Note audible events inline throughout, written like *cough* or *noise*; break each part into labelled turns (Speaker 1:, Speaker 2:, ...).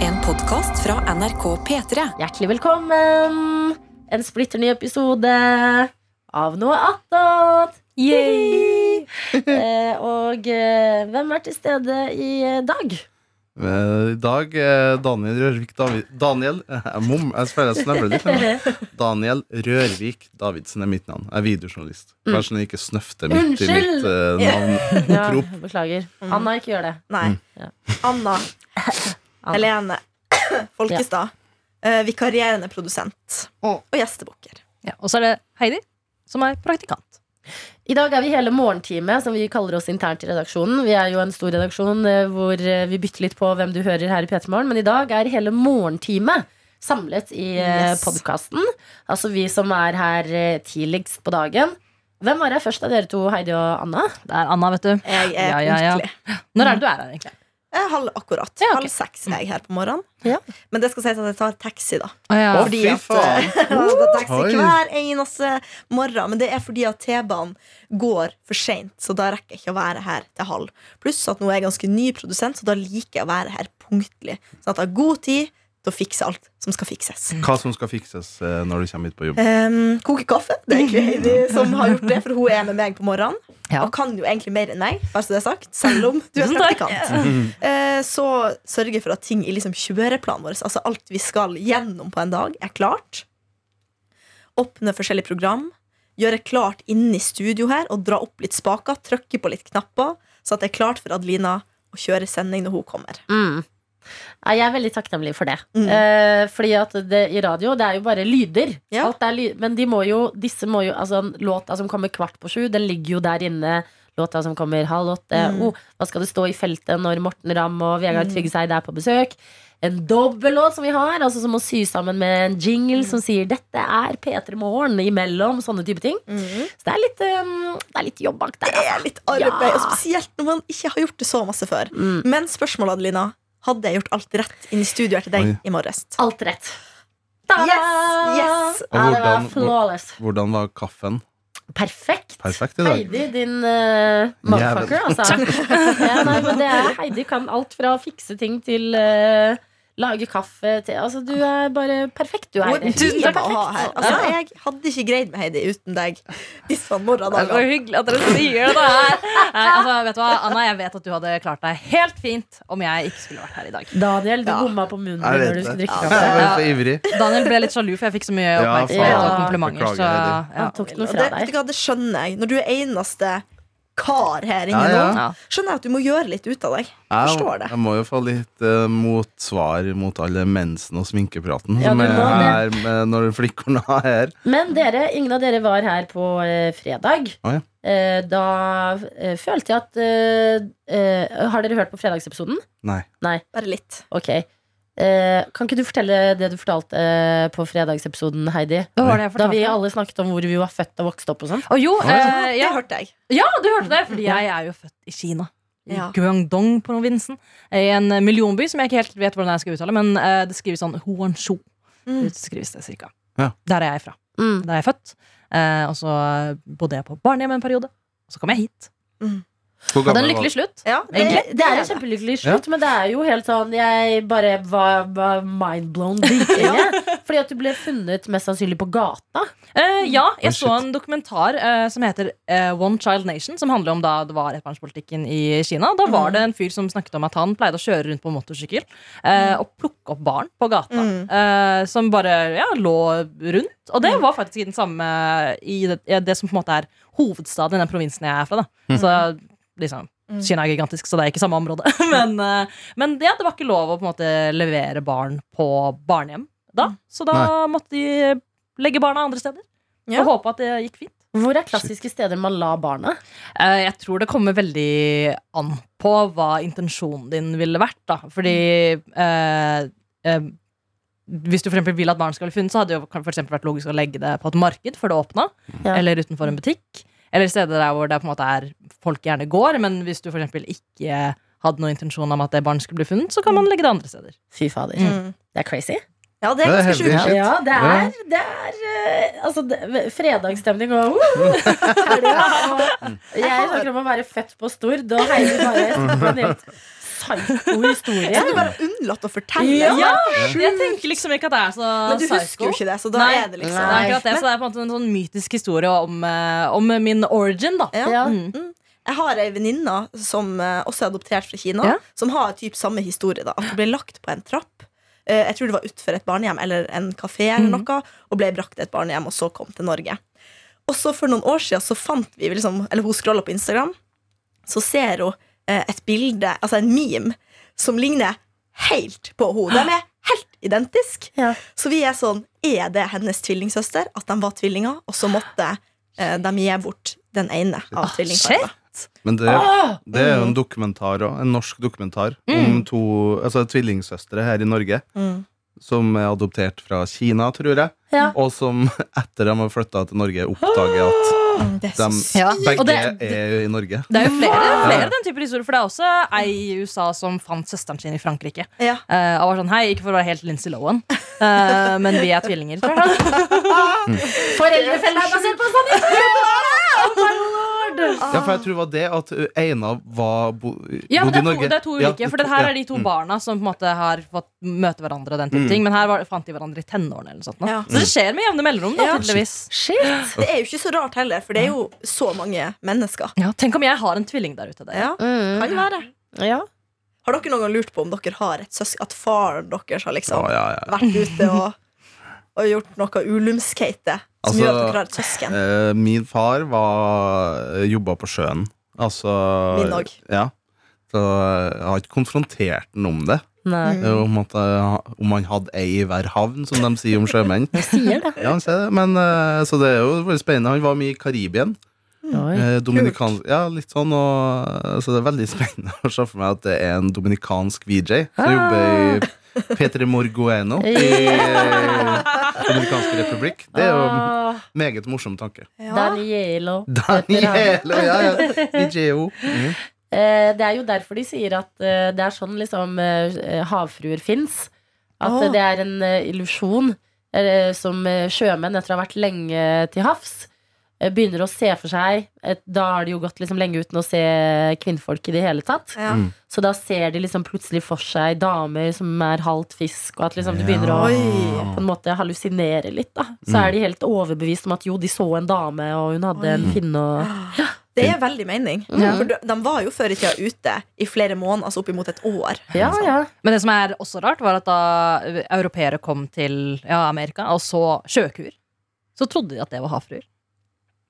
Speaker 1: En podkast fra NRK P3.
Speaker 2: Hjertelig velkommen! En splitter ny episode av Noe attåt! Eh, og eh, hvem er til stede i eh, dag?
Speaker 3: Eh, I dag eh, Daniel Rørvik Davi- Daniel eh, Mom, jeg føler jeg snøvler
Speaker 2: *laughs*
Speaker 3: litt nå. Daniel Rørvik Davidsen er mitt navn. Jeg er videojournalist. Vær så snill ikke snøfte midt i
Speaker 2: Mm. Unnskyld!
Speaker 3: mitt eh, navn.
Speaker 2: *laughs* Ja,
Speaker 3: Prop.
Speaker 2: beklager. Anna, ikke gjør det.
Speaker 4: Nei.
Speaker 2: Ja.
Speaker 4: Anna,
Speaker 5: *coughs*
Speaker 4: Helene Folkestad. eh, vikarierende produsent. Og gjestebukker.
Speaker 5: Ja, og så er det Heidi, som er praktikant.
Speaker 2: I dag er vi hele morgenteamet, som vi kaller oss internt i redaksjonen. Vi er jo en stor redaksjon eh, hvor eh, vi bytter litt på hvem du hører her i P3 Morgen, men i dag er hele morgenteamet samlet i
Speaker 4: Yes.
Speaker 2: podkasten. Altså vi som er her eh, tidligst på dagen. Hvem var her først av dere to, Heidi og Anna?
Speaker 5: Det er Anna, vet du.
Speaker 4: Jeg er
Speaker 5: Ja, ja, ja.
Speaker 4: punktlig.
Speaker 5: Når er det du er her, egentlig?
Speaker 4: Eh, halv akkurat.
Speaker 5: Ja, ok.
Speaker 4: Halv seks er jeg her på morgenen.
Speaker 2: Ja.
Speaker 4: Men det skal sies at jeg tar taxi,
Speaker 5: *laughs*
Speaker 4: da.
Speaker 5: Å, ja.
Speaker 3: Å,
Speaker 4: Fordi
Speaker 3: fy
Speaker 4: at-
Speaker 3: faen.
Speaker 4: Jeg
Speaker 5: Oh!
Speaker 4: tar
Speaker 3: Oi.
Speaker 4: taxi hver eneste morgen. Men det er fordi at T-banen går for seint, så da rekker jeg ikke å være her til halv. Pluss at nå er jeg ganske ny produsent, så da liker jeg å være her punktlig. Sånn at jeg har god tid til å fikse alt som skal fikses.
Speaker 3: Hva som skal fikses eh, når du kommer hit på jobb.
Speaker 4: Um, koke kaffe. Det er egentlig
Speaker 5: *laughs*
Speaker 4: Heidi som har gjort det, for hun er med meg på morgenen.
Speaker 5: Ja.
Speaker 4: Og kan jo egentlig mer enn meg, bare så det er sagt, selv om du er
Speaker 5: Tusen takk.
Speaker 4: praktikant. *laughs* Eh, så sørge for at ting i liksom kjøreplanen vår, altså alt vi skal gjennom på en dag, er klart. Åpne forskjellige program. Gjøre klart inne i studio her og dra opp litt spaker. Trykke på litt knapper, så at det er klart for Adelina å kjøre sending når hun kommer.
Speaker 2: Mm. Ja, jeg er veldig takknemlig for det.
Speaker 4: Mm.
Speaker 2: Eh, fordi at det, i radio, det er jo bare lyder.
Speaker 4: Ja.
Speaker 2: Alt er ly men de må jo, disse må jo altså, Låta som kommer kvart på sju, den ligger jo der inne. Låta som kommer halv åtte.
Speaker 4: Mm.
Speaker 2: Oh, hva skal det stå i feltet når Morten Ramm og Vegard Tryggeseid er på besøk? En dobbellåt som vi har, altså som må sy sammen med en jingle
Speaker 4: Mm.
Speaker 2: som sier 'Dette er P3 Morgen' imellom. Sånne type ting.
Speaker 5: Mm.
Speaker 2: Så det er litt, eh, det er litt jobb bak der.
Speaker 4: Det
Speaker 2: Altså.
Speaker 4: er litt arbeid,
Speaker 2: Ja.
Speaker 4: og spesielt når man ikke har gjort det så masse før.
Speaker 2: Mm.
Speaker 4: Men spørsmålet, Adelina Hadde jeg gjort alt rett inn i studio her til deg
Speaker 3: Oi.
Speaker 4: i morges?
Speaker 2: Alt rett. Ta-da!
Speaker 4: Yes, yes.
Speaker 2: Ja, det var
Speaker 3: Hvordan-
Speaker 2: flawless.
Speaker 3: Hvordan var kaffen?
Speaker 2: Perfekt.
Speaker 3: Perfekt i dag.
Speaker 2: Heidi, din uh, motherfucker, altså. *laughs* ja, nei, men det er, Heidi kan alt fra å fikse ting til eh, lage kaffe til Altså, du er bare perfekt, du,
Speaker 4: Hvor
Speaker 2: Heidi.
Speaker 4: du
Speaker 2: Helt
Speaker 4: må ha her
Speaker 2: perfekt.
Speaker 4: altså, Jeg hadde ikke greid meg, Heidi, uten deg. Disse
Speaker 5: Det er så
Speaker 4: morgendagene.
Speaker 5: hyggelig at dere sier det *laughs* her. Nei, altså, vet du hva, Anna, jeg vet at du hadde klart deg helt fint om jeg ikke skulle vært her i dag.
Speaker 2: Daniel, du
Speaker 4: Ja.
Speaker 2: bomma på munnen
Speaker 3: Jeg
Speaker 2: din
Speaker 3: vet
Speaker 2: når du skulle
Speaker 3: det.
Speaker 2: drikke
Speaker 3: Jeg
Speaker 2: kaffe.
Speaker 3: var så ivrig.
Speaker 5: Daniel ble litt sjalu, for jeg fikk så mye
Speaker 3: Ja,
Speaker 5: oppmerksomhet
Speaker 2: faen.
Speaker 5: og komplimenter. Så,
Speaker 3: Beklager,
Speaker 5: ja.
Speaker 2: Han tok
Speaker 4: Og
Speaker 2: noe
Speaker 4: Det,
Speaker 2: fra
Speaker 4: vet du
Speaker 2: deg.
Speaker 4: hva, det skjønner jeg. Når du er eneste kar her inne
Speaker 3: Ja, ja.
Speaker 4: nå,
Speaker 5: Ja.
Speaker 4: skjønner jeg at du må gjøre litt ut av deg.
Speaker 3: Jeg,
Speaker 4: Forstår det.
Speaker 3: jeg må jo få litt eh, motsvar mot alle mensen og sminkepraten
Speaker 2: Ja,
Speaker 3: som
Speaker 2: du
Speaker 3: er
Speaker 2: må
Speaker 3: her med, når flikkorna er her.
Speaker 2: Men dere, ingen av dere var her på eh, fredag.
Speaker 3: Å, ja.
Speaker 2: Eh, da eh, følte jeg at eh, eh, Har dere hørt på fredagsepisoden?
Speaker 3: Nei.
Speaker 4: Bare litt.
Speaker 2: Ok. Eh, kan ikke du fortelle det du fortalte eh, på fredagsepisoden, Heidi?
Speaker 5: Hva var det jeg
Speaker 2: Da vi
Speaker 5: fortalte?
Speaker 2: alle snakket om hvor vi var født og vokst opp og sånn.
Speaker 5: Å jo, eh,
Speaker 4: Det
Speaker 5: ja.
Speaker 4: hørte jeg.
Speaker 5: ja, du hørte det, fordi jeg er jo født i Kina. I
Speaker 4: Ja.
Speaker 5: Guangdong-provinsen. I en millionby som jeg ikke helt vet hvordan jeg skal uttale, men eh, det skrives sånn Huanshu.
Speaker 4: Mm.
Speaker 5: Utskrives det cirka.
Speaker 3: Ja.
Speaker 5: Der er jeg fra. da jeg er født. Eh, og så bodde jeg på barnehjem en periode. Og så kom jeg hit.
Speaker 3: Hvor
Speaker 5: Hadde en
Speaker 3: var
Speaker 5: lykkelig slutt.
Speaker 4: Ja,
Speaker 2: Det, det er
Speaker 4: det.
Speaker 2: en kjempelykkelig slutt, men det er jo helt sånn Jeg bare var, var mindblown
Speaker 4: *laughs* Ja.
Speaker 2: dritlenge. Fordi at du ble funnet mest sannsynlig på gata.
Speaker 5: Eh, ja, jeg
Speaker 3: Oi,
Speaker 5: så
Speaker 3: shit.
Speaker 5: en dokumentar eh, som heter eh, One Child Nation, som handler om da det var ettbarnspolitikken i Kina. Da var det en fyr som snakket om at han pleide å kjøre rundt på motorsykkel eh, og plukke opp barn på gata.
Speaker 4: Mm.
Speaker 5: eh, som bare ja, lå rundt. Og det var faktisk i den samme I det, i det som på en måte er hovedstaden i den provinsen jeg er fra. Da. Så liksom
Speaker 4: Mm.
Speaker 5: Kina er gigantisk, så det er ikke samme område. *laughs* men eh, men ja, det var ikke lov å på en måte levere barn på barnehjem da. Så da måtte de legge barna andre steder.
Speaker 4: Ja.
Speaker 5: Og håpe at det gikk fint.
Speaker 2: Hvor er klassiske steder man la barna?
Speaker 5: Eh, Jeg tror det kommer veldig an på hva intensjonen din ville vært. Da. Fordi eh, eh, hvis du for eksempel vil at barn skal bli funnet, så hadde det jo for eksempel vært logisk å legge det på et marked før det åpna,
Speaker 2: Ja.
Speaker 5: eller utenfor en butikk. Eller steder der hvor det på en måte er folk gjerne går, men hvis du for eksempel ikke hadde noen intensjon om at det barnet skulle bli funnet, så kan man legge det andre steder.
Speaker 2: Fy fader.
Speaker 4: Mm.
Speaker 2: Det er crazy.
Speaker 4: Ja, det er
Speaker 3: Det er
Speaker 4: ganske
Speaker 3: heldig.
Speaker 4: sjukt.
Speaker 3: Shit.
Speaker 2: Ja, det
Speaker 3: Ja.
Speaker 2: er, det er eh, Altså, det, fredagsstemning og uh, *laughs*
Speaker 3: *laughs* *laughs*
Speaker 2: helga. og Jeg snakker om å være født på Stord, og Heidi bare setter på en helt
Speaker 4: sci-fi.
Speaker 2: God historie.
Speaker 4: Så du bare unnlatt å fortelle.
Speaker 5: Ja, Jeg tenker liksom ikke at det er så
Speaker 4: Men du husker
Speaker 5: psycho.
Speaker 4: jo ikke det, så da
Speaker 5: Nei.
Speaker 4: er det
Speaker 5: Det er
Speaker 4: liksom
Speaker 2: Nei.
Speaker 5: akkurat det, så det er på en måte en sånn mytisk historie om, eh, om min origin, da.
Speaker 4: ja.
Speaker 2: Ja.
Speaker 5: Mm.
Speaker 4: Jeg har ei venninne som eh, også er adoptert fra Kina,
Speaker 5: Ja.
Speaker 4: som har typ samme historie. da At hun ble lagt på en trapp. Eh, Jeg tror det var utenfor et barnehjem eller en kafé, eller noe og ble brakt til et barnehjem og så kom til Norge. Og så For noen år siden så fant vi liksom, Eller hun scrolla på Instagram, så ser hun eh, et bilde, altså en meme, som ligner helt på henne. De er helt identiske.
Speaker 2: Ja.
Speaker 4: Så vi er sånn Er det hennes tvillingsøster? At de var tvillinger? Og så måtte eh, de gi bort den ene av tvillingparene.
Speaker 3: Men det,
Speaker 5: Ah!
Speaker 3: det er
Speaker 5: Mm.
Speaker 3: jo en dokumentar også, en norsk dokumentar om to altså, tvillingsøstre her i Norge
Speaker 4: Mm.
Speaker 3: som er adoptert fra Kina, tror jeg,
Speaker 2: Ja.
Speaker 3: og som *laughs* etter de har flytta til Norge, oppdager at
Speaker 5: Ah!
Speaker 4: Mm, det er så
Speaker 3: de
Speaker 5: Ja. Og
Speaker 3: begge
Speaker 5: det-
Speaker 3: er i Norge.
Speaker 5: Det er jo flere,
Speaker 3: Hva?
Speaker 5: flere den type historier, for det er også ei i USA som fant søsteren sin i Frankrike.
Speaker 4: Ja.
Speaker 5: Eh, og var sånn, hei, ikke for å være helt Lindsay Lohan, eh, men vi er tvillinger. tror jeg.
Speaker 2: Foreldrefellen er basert på sånn
Speaker 3: Ja, for jeg tror det var det at uh, Eina var bo,
Speaker 5: *laughs* Ah. Ja, men
Speaker 3: bodde i Norge.
Speaker 5: det er, to, det er to
Speaker 3: Ja,
Speaker 5: ulike, for det
Speaker 3: to-
Speaker 5: her
Speaker 3: ja. Mm.
Speaker 5: er de to barna som på en måte har fått møte hverandre. og den type ting, Men her var, fant de hverandre i tenårene. eller noe sånt. nå.
Speaker 4: Ja.
Speaker 5: Så det skjer med jevne mellomrom. da,
Speaker 4: Ja.
Speaker 5: tydeligvis.
Speaker 2: Shit.
Speaker 4: Det er jo ikke så rart heller, for det er jo så mange mennesker.
Speaker 5: Ja, Tenk om jeg har en tvilling der ute. Det.
Speaker 4: Ja,
Speaker 2: Mm.
Speaker 4: kan det være.
Speaker 2: Ja.
Speaker 4: Har dere noen gang lurt på om dere har et søsken At faren deres har liksom
Speaker 3: Å, ja, ja.
Speaker 4: vært ute og, og gjort noe ulumskheite som
Speaker 3: Altså-
Speaker 4: gjør at dere har et søsken?
Speaker 3: Eh, Min far var, jobba på sjøen. Altså
Speaker 4: Min òg.
Speaker 3: Ja. Så eh, jeg har ikke konfrontert ham om det.
Speaker 2: Nei.
Speaker 3: Eh, Om, at, eh, om han hadde ei i hver havn, som de sier om sjømenn.
Speaker 2: Sier det.
Speaker 3: Ja, han sier det, men, eh, så det er jo veldig spennende. Han var mye i Karibien.
Speaker 2: Oi.
Speaker 3: Eh, Dominikan, ja, litt sånn, og, så det er veldig *laughs* spennende å se for meg at det er en dominikansk VJ som jobber i P3 Morgueno i Dominikansk republikk. Det er jo en
Speaker 2: Ah,
Speaker 3: meget morsom tanke.
Speaker 4: Ja.
Speaker 2: Danielo.
Speaker 3: Daniele, ja, ja. VJ-o. Mm.
Speaker 2: Eh, Det er jo derfor de sier at eh, det er sånn liksom eh, havfruer fins. At eh,
Speaker 4: Åh.
Speaker 2: det er en eh, illusjon eh, som eh, sjømenn etter å ha vært lenge til havs eh, begynner å se for seg et, Da har de jo gått liksom lenge uten å se kvinnfolk i det hele tatt.
Speaker 4: Ja.
Speaker 3: Mm.
Speaker 2: Så da ser de liksom plutselig for seg damer som er halvt fisk, og at liksom de begynner å
Speaker 4: Oi.
Speaker 2: på en måte hallusinere litt. da Så
Speaker 3: Mm.
Speaker 2: er de helt overbevist om at jo, de så en dame, og hun hadde en
Speaker 4: Oi.
Speaker 2: finne og
Speaker 4: Det er veldig mening.
Speaker 2: Ja.
Speaker 4: For de, de var jo før i tida ute i flere måneder, altså oppimot et år.
Speaker 2: Ja, ja.
Speaker 5: Men det som er også rart, var at da europeere kom til ja, Amerika og så sjøkuer, så trodde de at det var havfruer.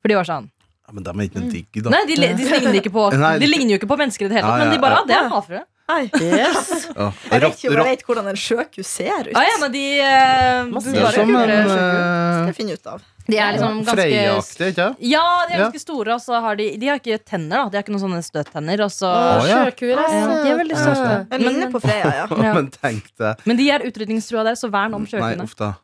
Speaker 5: For de var sånn
Speaker 3: Ja, men de er ikke noe digg, da.
Speaker 5: Nei, de, li- *laughs* de, ligner, ikke på,
Speaker 3: Nei.
Speaker 5: de ligner jo ikke på mennesker i det hele
Speaker 3: Ja,
Speaker 5: tatt,
Speaker 3: ja,
Speaker 5: men de bare
Speaker 3: ja.
Speaker 5: ja, det er havfrue.
Speaker 4: Nei.
Speaker 2: Yes.
Speaker 3: Ja.
Speaker 4: Jeg vet
Speaker 3: Rått,
Speaker 4: ikke om jeg
Speaker 3: rått.
Speaker 4: vet hvordan en sjøku ser ut.
Speaker 5: Ah, Ja, ja, men de, eh,
Speaker 2: Masse
Speaker 5: de
Speaker 3: Det er
Speaker 5: bare
Speaker 3: som en
Speaker 5: kuler sjøkuer.
Speaker 4: Det
Speaker 3: eh,
Speaker 4: finner jeg ut av.
Speaker 5: De er liksom ganske
Speaker 3: Freia-aktig, ikke sant?
Speaker 5: Ja, de er
Speaker 3: Ja.
Speaker 5: ganske store, og så har de De har ikke tenner, da. De har ikke noen sånne støttenner. Og så
Speaker 3: Å, ja.
Speaker 2: Sjøkuer, ass.
Speaker 5: Ja, de er veldig
Speaker 3: Ja,
Speaker 5: søte.
Speaker 4: Jeg ligner på Freya, ja.
Speaker 3: *laughs*
Speaker 5: Ja.
Speaker 3: Men tenk deg
Speaker 5: Men de er utrydningstrua der, så vern om
Speaker 3: Nei,
Speaker 5: sjøkuene.
Speaker 3: uff da.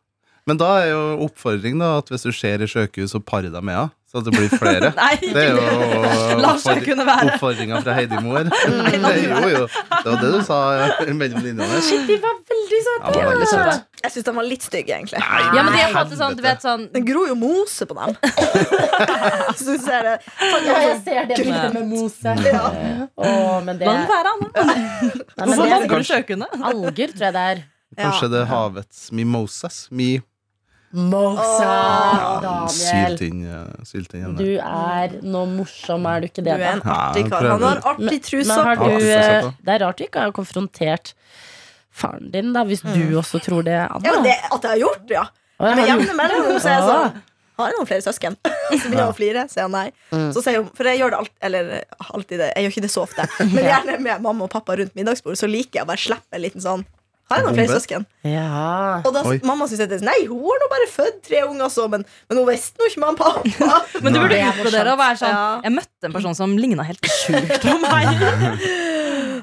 Speaker 3: Men da er jo oppfordringen da, at hvis du ser i sjøku, så par deg med henne. Så at det blir flere.
Speaker 5: *laughs* Nei,
Speaker 3: Det er jo
Speaker 5: la sjøkuene være.
Speaker 3: oppfordringa fra Heidi
Speaker 5: *laughs*
Speaker 3: Moer. Det, jo, jo. det var det du sa ja, *laughs* mellom linjene.
Speaker 2: Shit, de var veldig søte.
Speaker 3: Ja, det var veldig søte.
Speaker 4: Jeg syns de var litt stygge, egentlig.
Speaker 5: Ja, men de er på en måte sånn, du vet sånn
Speaker 4: Det gror jo mose på
Speaker 2: *laughs*
Speaker 4: dem. Så du ser det. Folk
Speaker 2: Ja,
Speaker 4: er
Speaker 2: jeg
Speaker 4: sånn,
Speaker 2: ser det bildet med Mose.
Speaker 4: Ja.
Speaker 2: Å, men det
Speaker 5: La den
Speaker 2: Nei,
Speaker 5: være, Anne.
Speaker 2: men
Speaker 5: Hvorfor
Speaker 2: det er
Speaker 5: valgte du sjøkuene?
Speaker 2: sikkert alger, tror jeg det er.
Speaker 3: Kanskje det er havets mimosas. Mi
Speaker 2: Mosa,
Speaker 4: Åh.
Speaker 2: Daniel.
Speaker 3: sylt inn eh, sylt inn
Speaker 2: Du
Speaker 3: henne.
Speaker 2: er nå morsom, er du ikke
Speaker 4: Du
Speaker 2: det?
Speaker 4: er
Speaker 2: da?
Speaker 4: en artig kar. Han har artig truse.
Speaker 2: Men har
Speaker 3: Ja,
Speaker 2: du,
Speaker 3: det er sant,
Speaker 2: eh, det er rart du ikke har konfrontert faren din, da, hvis du også tror det,
Speaker 4: Mm. Ja, men
Speaker 2: Anna.
Speaker 4: det, at jeg har gjort det, ja.
Speaker 2: Å, ja,
Speaker 4: Med
Speaker 2: har du-
Speaker 4: jevne mellomrom så er jeg
Speaker 2: Ah.
Speaker 4: sånn Har jeg noen flere søsken? Så begynner jeg å flire, sier jeg nei.
Speaker 2: Mm.
Speaker 4: Så sier hun, for jeg gjør det alt, eller alltid det, jeg gjør ikke det så ofte, men gjerne med mamma og pappa rundt middagsbordet, så liker jeg å bare slippe en liten sånn Har jeg noen flere
Speaker 3: Bombe.
Speaker 4: søsken?
Speaker 2: Ja.
Speaker 4: Og da
Speaker 3: Oi.
Speaker 4: mamma synes jeg det er sånn, Nei, hun har nå bare født tre unger, så, men, men hun visste nå ikke med han
Speaker 2: *laughs*
Speaker 4: pappa.
Speaker 5: Men du burde
Speaker 2: Det er
Speaker 5: utbrodere og være sånn
Speaker 4: Ja.
Speaker 5: Jeg møtte en person som ligna helt sjukt på meg.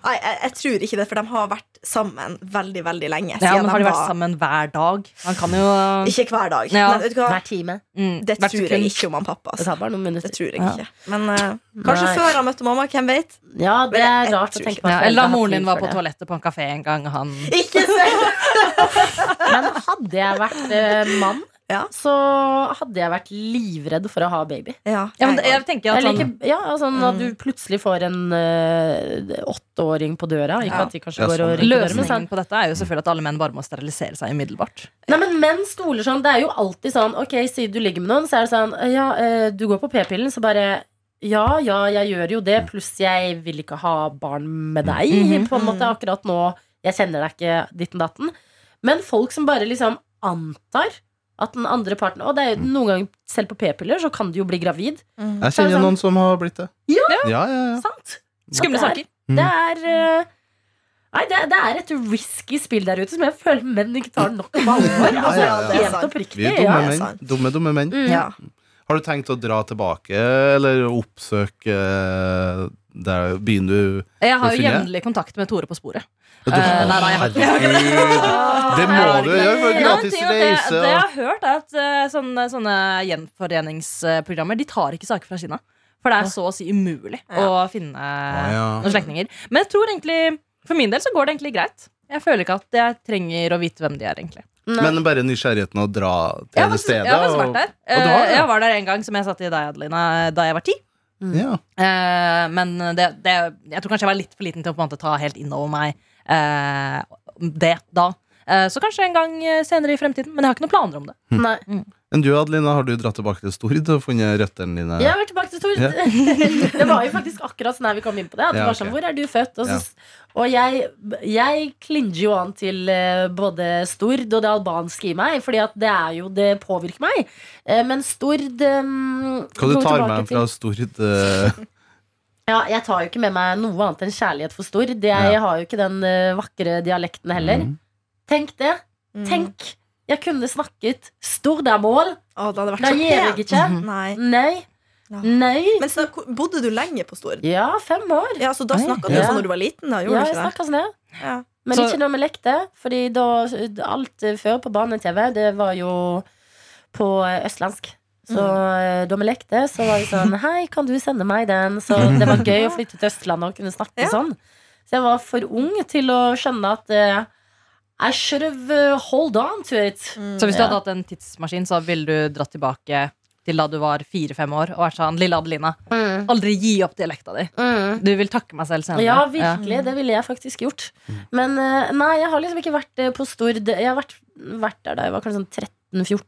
Speaker 4: Nei, jeg, jeg tror ikke det, for de har vært sammen veldig, veldig lenge.
Speaker 5: Ja,
Speaker 4: siden
Speaker 5: men har de vært
Speaker 4: var-
Speaker 5: sammen hver dag? Han kan jo
Speaker 4: Ikke hver dag.
Speaker 5: Ja.
Speaker 4: Men vet du hva?
Speaker 2: Hver time.
Speaker 5: mm,
Speaker 4: Det
Speaker 5: hvert
Speaker 4: tror jeg
Speaker 5: sekund.
Speaker 4: ikke om han pappa.
Speaker 2: Det
Speaker 4: Altså.
Speaker 2: tar bare noen minutter.
Speaker 4: Det tror jeg
Speaker 5: Ja.
Speaker 4: ikke. Men eh, kanskje
Speaker 2: Nei.
Speaker 4: før han møtte mamma. Hvem vet?
Speaker 2: Ja, det
Speaker 4: Men
Speaker 2: er
Speaker 4: jeg
Speaker 2: rart å
Speaker 4: tror
Speaker 2: tenke
Speaker 4: ikke-
Speaker 2: på.
Speaker 5: Ja,
Speaker 2: at
Speaker 5: eller
Speaker 2: foreldre
Speaker 5: da moren
Speaker 2: har
Speaker 5: din
Speaker 2: tid
Speaker 5: var
Speaker 2: for
Speaker 5: på
Speaker 2: det.
Speaker 5: toalettet på en kafé en gang. Han
Speaker 4: Ikke se!
Speaker 2: Men hadde jeg vært eh, mann,
Speaker 4: Ja.
Speaker 2: så hadde jeg vært livredd for å ha baby.
Speaker 4: *laughs* Ja,
Speaker 5: Ja, men det- jeg tenker
Speaker 2: Jeg
Speaker 5: at sånn,
Speaker 2: liker, ja, altså, At
Speaker 4: Mm.
Speaker 2: du plutselig får en eh, åtteåring på døra. Ikke
Speaker 4: Ja.
Speaker 2: at de kanskje
Speaker 3: Ja,
Speaker 2: går og rynker
Speaker 3: sånn.
Speaker 2: døra, men sånn-
Speaker 5: Løsningen på dette er jo selvfølgelig at alle menn bare må sterilisere seg umiddelbart.
Speaker 2: Nei, men menn stoler sånn. Det er jo alltid sånn Ok, si du ligger med noen, så er det sånn Ja, eh, du går på p-pillen, så bare ja, ja, jeg gjør jo det, pluss jeg vil ikke ha barn med deg.
Speaker 5: Mhm.
Speaker 2: På en måte akkurat nå Jeg kjenner deg ikke, ditten datten. Men folk som bare liksom antar at den andre parten Og det er jo
Speaker 5: Mm.
Speaker 2: noen ganger, selv på p-piller, så kan du jo bli gravid.
Speaker 4: Mm.
Speaker 3: Jeg
Speaker 5: sånn?
Speaker 3: kjenner noen som har blitt det.
Speaker 2: Ja.
Speaker 3: ja, ja, ja.
Speaker 2: Sant?
Speaker 5: Skumle
Speaker 2: At
Speaker 5: saker.
Speaker 2: det er- Det er eh, Nei, det, det er et risky spill der ute som jeg føler menn ikke tar nok på alvor.
Speaker 3: Ja,
Speaker 2: Altså,
Speaker 3: ja, ja.
Speaker 2: Helt
Speaker 4: Sant.
Speaker 2: oppriktig.
Speaker 3: Vi
Speaker 2: ja.
Speaker 3: er dumme
Speaker 4: ja,
Speaker 3: menn.
Speaker 4: sant.
Speaker 3: Dumme, dumme menn.
Speaker 2: Mm.
Speaker 4: Ja.
Speaker 3: Har du tenkt å dra tilbake eller oppsøke eh, der byen du
Speaker 5: Jeg har jo
Speaker 3: Hvorfor
Speaker 5: jevnlig kontakt med Tore på sporet.
Speaker 3: Ja, du-
Speaker 5: Eh, nei, nei, jeg har ikke *laughs*
Speaker 3: Herregud! Det må
Speaker 5: Ah,
Speaker 3: du gjøre for
Speaker 5: Nei, men
Speaker 3: gratis
Speaker 5: ting er at
Speaker 3: reise.
Speaker 5: Det, det jeg
Speaker 3: og-
Speaker 5: har hørt, er at eh, sånne, sånne gjenforeningsprogrammer De tar ikke saker fra Kina. For det er så å si umulig å finne
Speaker 3: Ah, ja.
Speaker 5: noen slektninger. Men jeg tror egentlig for min del så går det egentlig greit. Jeg føler ikke at jeg trenger å vite hvem de er, egentlig.
Speaker 3: Men bare nysgjerrigheten å dra
Speaker 5: Jeg har
Speaker 3: til det
Speaker 5: faktisk,
Speaker 3: stedet.
Speaker 5: jeg har faktisk
Speaker 3: og-
Speaker 5: vært der.
Speaker 3: og du har
Speaker 5: Eh,
Speaker 3: det?
Speaker 5: Jeg var der en gang som jeg sa til deg, Adelina, da jeg var ti.
Speaker 3: Ja.
Speaker 5: Eh, men det, det, jeg tror kanskje jeg var litt for liten til å på en måte ta helt innover meg eh, det da. Eh, så kanskje en gang eh, senere i fremtiden. Men jeg har ikke noen planer om det.
Speaker 2: Nei.
Speaker 3: Men du, Adelina, har du dratt tilbake til Stord og funnet røttene dine?
Speaker 2: Jeg har vært tilbake til Tord. *laughs* det var jo faktisk akkurat sånn her vi kom inn på det. At det
Speaker 3: Ja,
Speaker 2: var sånn,
Speaker 3: ok.
Speaker 2: Hvor er du født? Og, så, og jeg, jeg klinger jo an til eh, både Stord og det albanske i meg, Fordi at det er jo det påvirker meg. Eh, Men Stord um,
Speaker 3: Hva du tar med fra Stord? eh, *laughs*
Speaker 2: Ja, jeg tar jo ikke med meg noe annet enn kjærlighet for Stord. Jeg
Speaker 3: Ja.
Speaker 2: har jo ikke den eh, vakre dialekten heller.
Speaker 3: Mm.
Speaker 2: Tenk det.
Speaker 4: Mm.
Speaker 2: Tenk! Jeg kunne snakket stordamål.
Speaker 4: Å, det hadde vært
Speaker 2: Da
Speaker 4: så
Speaker 2: gjør jeg
Speaker 4: pent.
Speaker 2: ikke.
Speaker 5: Mhm.
Speaker 4: Nei.
Speaker 2: Nei.
Speaker 4: Mhm. Ja.
Speaker 2: Nei.
Speaker 4: Men så, hvor- bodde du lenge på Stord?
Speaker 2: Ja, fem år.
Speaker 4: Ja, så da
Speaker 5: Oi.
Speaker 4: snakka du
Speaker 2: Ja.
Speaker 4: sånn når du var liten? Da,
Speaker 2: Ja, jeg
Speaker 4: gjorde du ikke det?
Speaker 2: snakka sånn, ja.
Speaker 4: Ja.
Speaker 2: Men
Speaker 5: Så-
Speaker 2: ikke når vi lekte, Fordi da alt eh, før på barne-TV, det var jo på eh, østlandsk. Så eh, da vi lekte, så var vi sånn Hei, kan du sende meg den? Så det var gøy å flytte til Østlandet og kunne snakke
Speaker 4: Ja.
Speaker 2: sånn. Så jeg var for ung til å skjønne at eh, I should have eh, hold on to it.
Speaker 4: Mm.
Speaker 5: Så hvis du
Speaker 2: Ja.
Speaker 5: hadde hatt en tidsmaskin, så ville du dratt tilbake til da du var fire-fem år og vært sånn Lille Adelina, aldri gi opp dialekta di. Du vil takke meg selv senere.
Speaker 2: Ja, virkelig. Det ville jeg faktisk gjort.
Speaker 3: Mm.
Speaker 2: Men eh, nei, jeg har liksom ikke vært eh, på Stord Jeg har vært, vært der da jeg var kanskje sånn 13-14,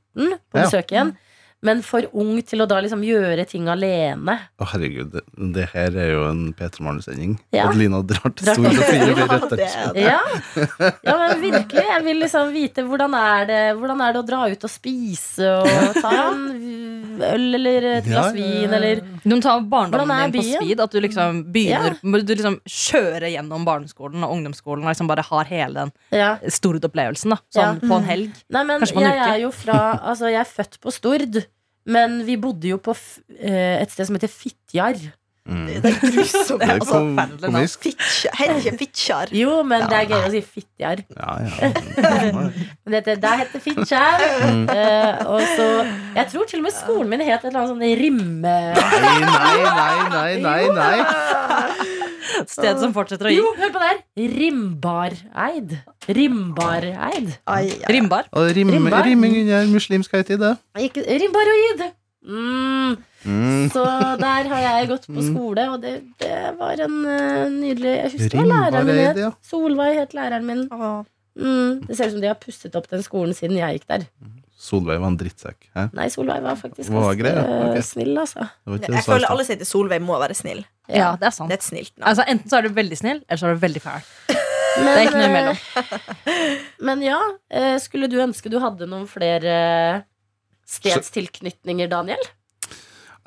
Speaker 2: på
Speaker 3: Ja.
Speaker 2: besøk igjen. Men for ung til å da liksom gjøre ting alene.
Speaker 3: Å, herregud, det, det her er jo en P3 Morgen-sending.
Speaker 2: Ja.
Speaker 3: Adelina drar til
Speaker 2: Drar til
Speaker 3: Stord og finner
Speaker 4: Ja,
Speaker 3: røttene.
Speaker 4: det er det.
Speaker 2: Ja. ja, men virkelig. Jeg vil liksom vite hvordan er det Hvordan er det å dra ut og spise og ta en øl eller et glass
Speaker 3: Ja, ja, ja.
Speaker 2: vin eller
Speaker 5: Du må ta barndommen
Speaker 2: Hvordan er
Speaker 5: din på
Speaker 2: byen?
Speaker 5: speed. At du liksom begynner må Du liksom kjører gjennom barneskolen og ungdomsskolen og liksom bare har hele den
Speaker 2: Ja.
Speaker 5: Stord-opplevelsen da sånn på en helg.
Speaker 2: Nei, men
Speaker 5: Kanskje på en
Speaker 2: jeg
Speaker 5: uke.
Speaker 2: er jo fra Altså, jeg er født på Stord, men vi bodde jo på f eh, et sted som heter Fitjar.
Speaker 3: Mm.
Speaker 4: Det er grusomt.
Speaker 3: Det er
Speaker 4: Altså,
Speaker 3: kom,
Speaker 5: forferdelig navn.
Speaker 3: komisk.
Speaker 4: Fitjar Heter ikke Fitjar.
Speaker 2: Jo, men det er gøy å si Fitjar.
Speaker 3: Ja, ja.
Speaker 2: Men Det heter, det heter Fitjar.
Speaker 3: Mm.
Speaker 2: Eh, og så Jeg tror til og med skolen min het et eller annet sånn rimme...
Speaker 3: Nei, nei, nei, nei, nei. nei.
Speaker 5: *laughs* Sted som fortsetter å gi.
Speaker 2: Jo, hør på det her! Rimbareid. Rimbareid.
Speaker 4: Ai, ai.
Speaker 5: Rimbar.
Speaker 3: Og rim,
Speaker 2: Rimbar.
Speaker 3: rimming under muslimsk høytid, det.
Speaker 2: Ikke Rimbaroid! Mm.
Speaker 3: Mm.
Speaker 2: Så der har jeg gått på skole, og det, det var en eh, nydelig Jeg husker hva læreren min
Speaker 3: Rimbareid,
Speaker 2: het.
Speaker 3: ja.
Speaker 2: Solveig het læreren min.
Speaker 4: Å,
Speaker 2: Mm. Det ser ut som de har pustet opp den skolen siden jeg gikk der.
Speaker 3: Solveig var en drittsekk. Hæ?
Speaker 2: Nei, Solveig var faktisk
Speaker 3: Var
Speaker 2: ganske
Speaker 3: grei, ja. Ok.
Speaker 2: snill, altså.
Speaker 3: Det sånn. var ikke
Speaker 4: Jeg
Speaker 3: det som
Speaker 4: føler
Speaker 3: var
Speaker 4: alle som heter Solveig, må være snill.
Speaker 5: Ja, det er sant.
Speaker 4: Det er et snilt navn.
Speaker 5: Altså, enten så er du veldig snill, eller så er du veldig fæl.
Speaker 2: Men,
Speaker 5: Det er ikke noe imellom.
Speaker 2: eh, *laughs* Men ja, eh, skulle du ønske du hadde noen flere eh, stedstilknytninger, Daniel?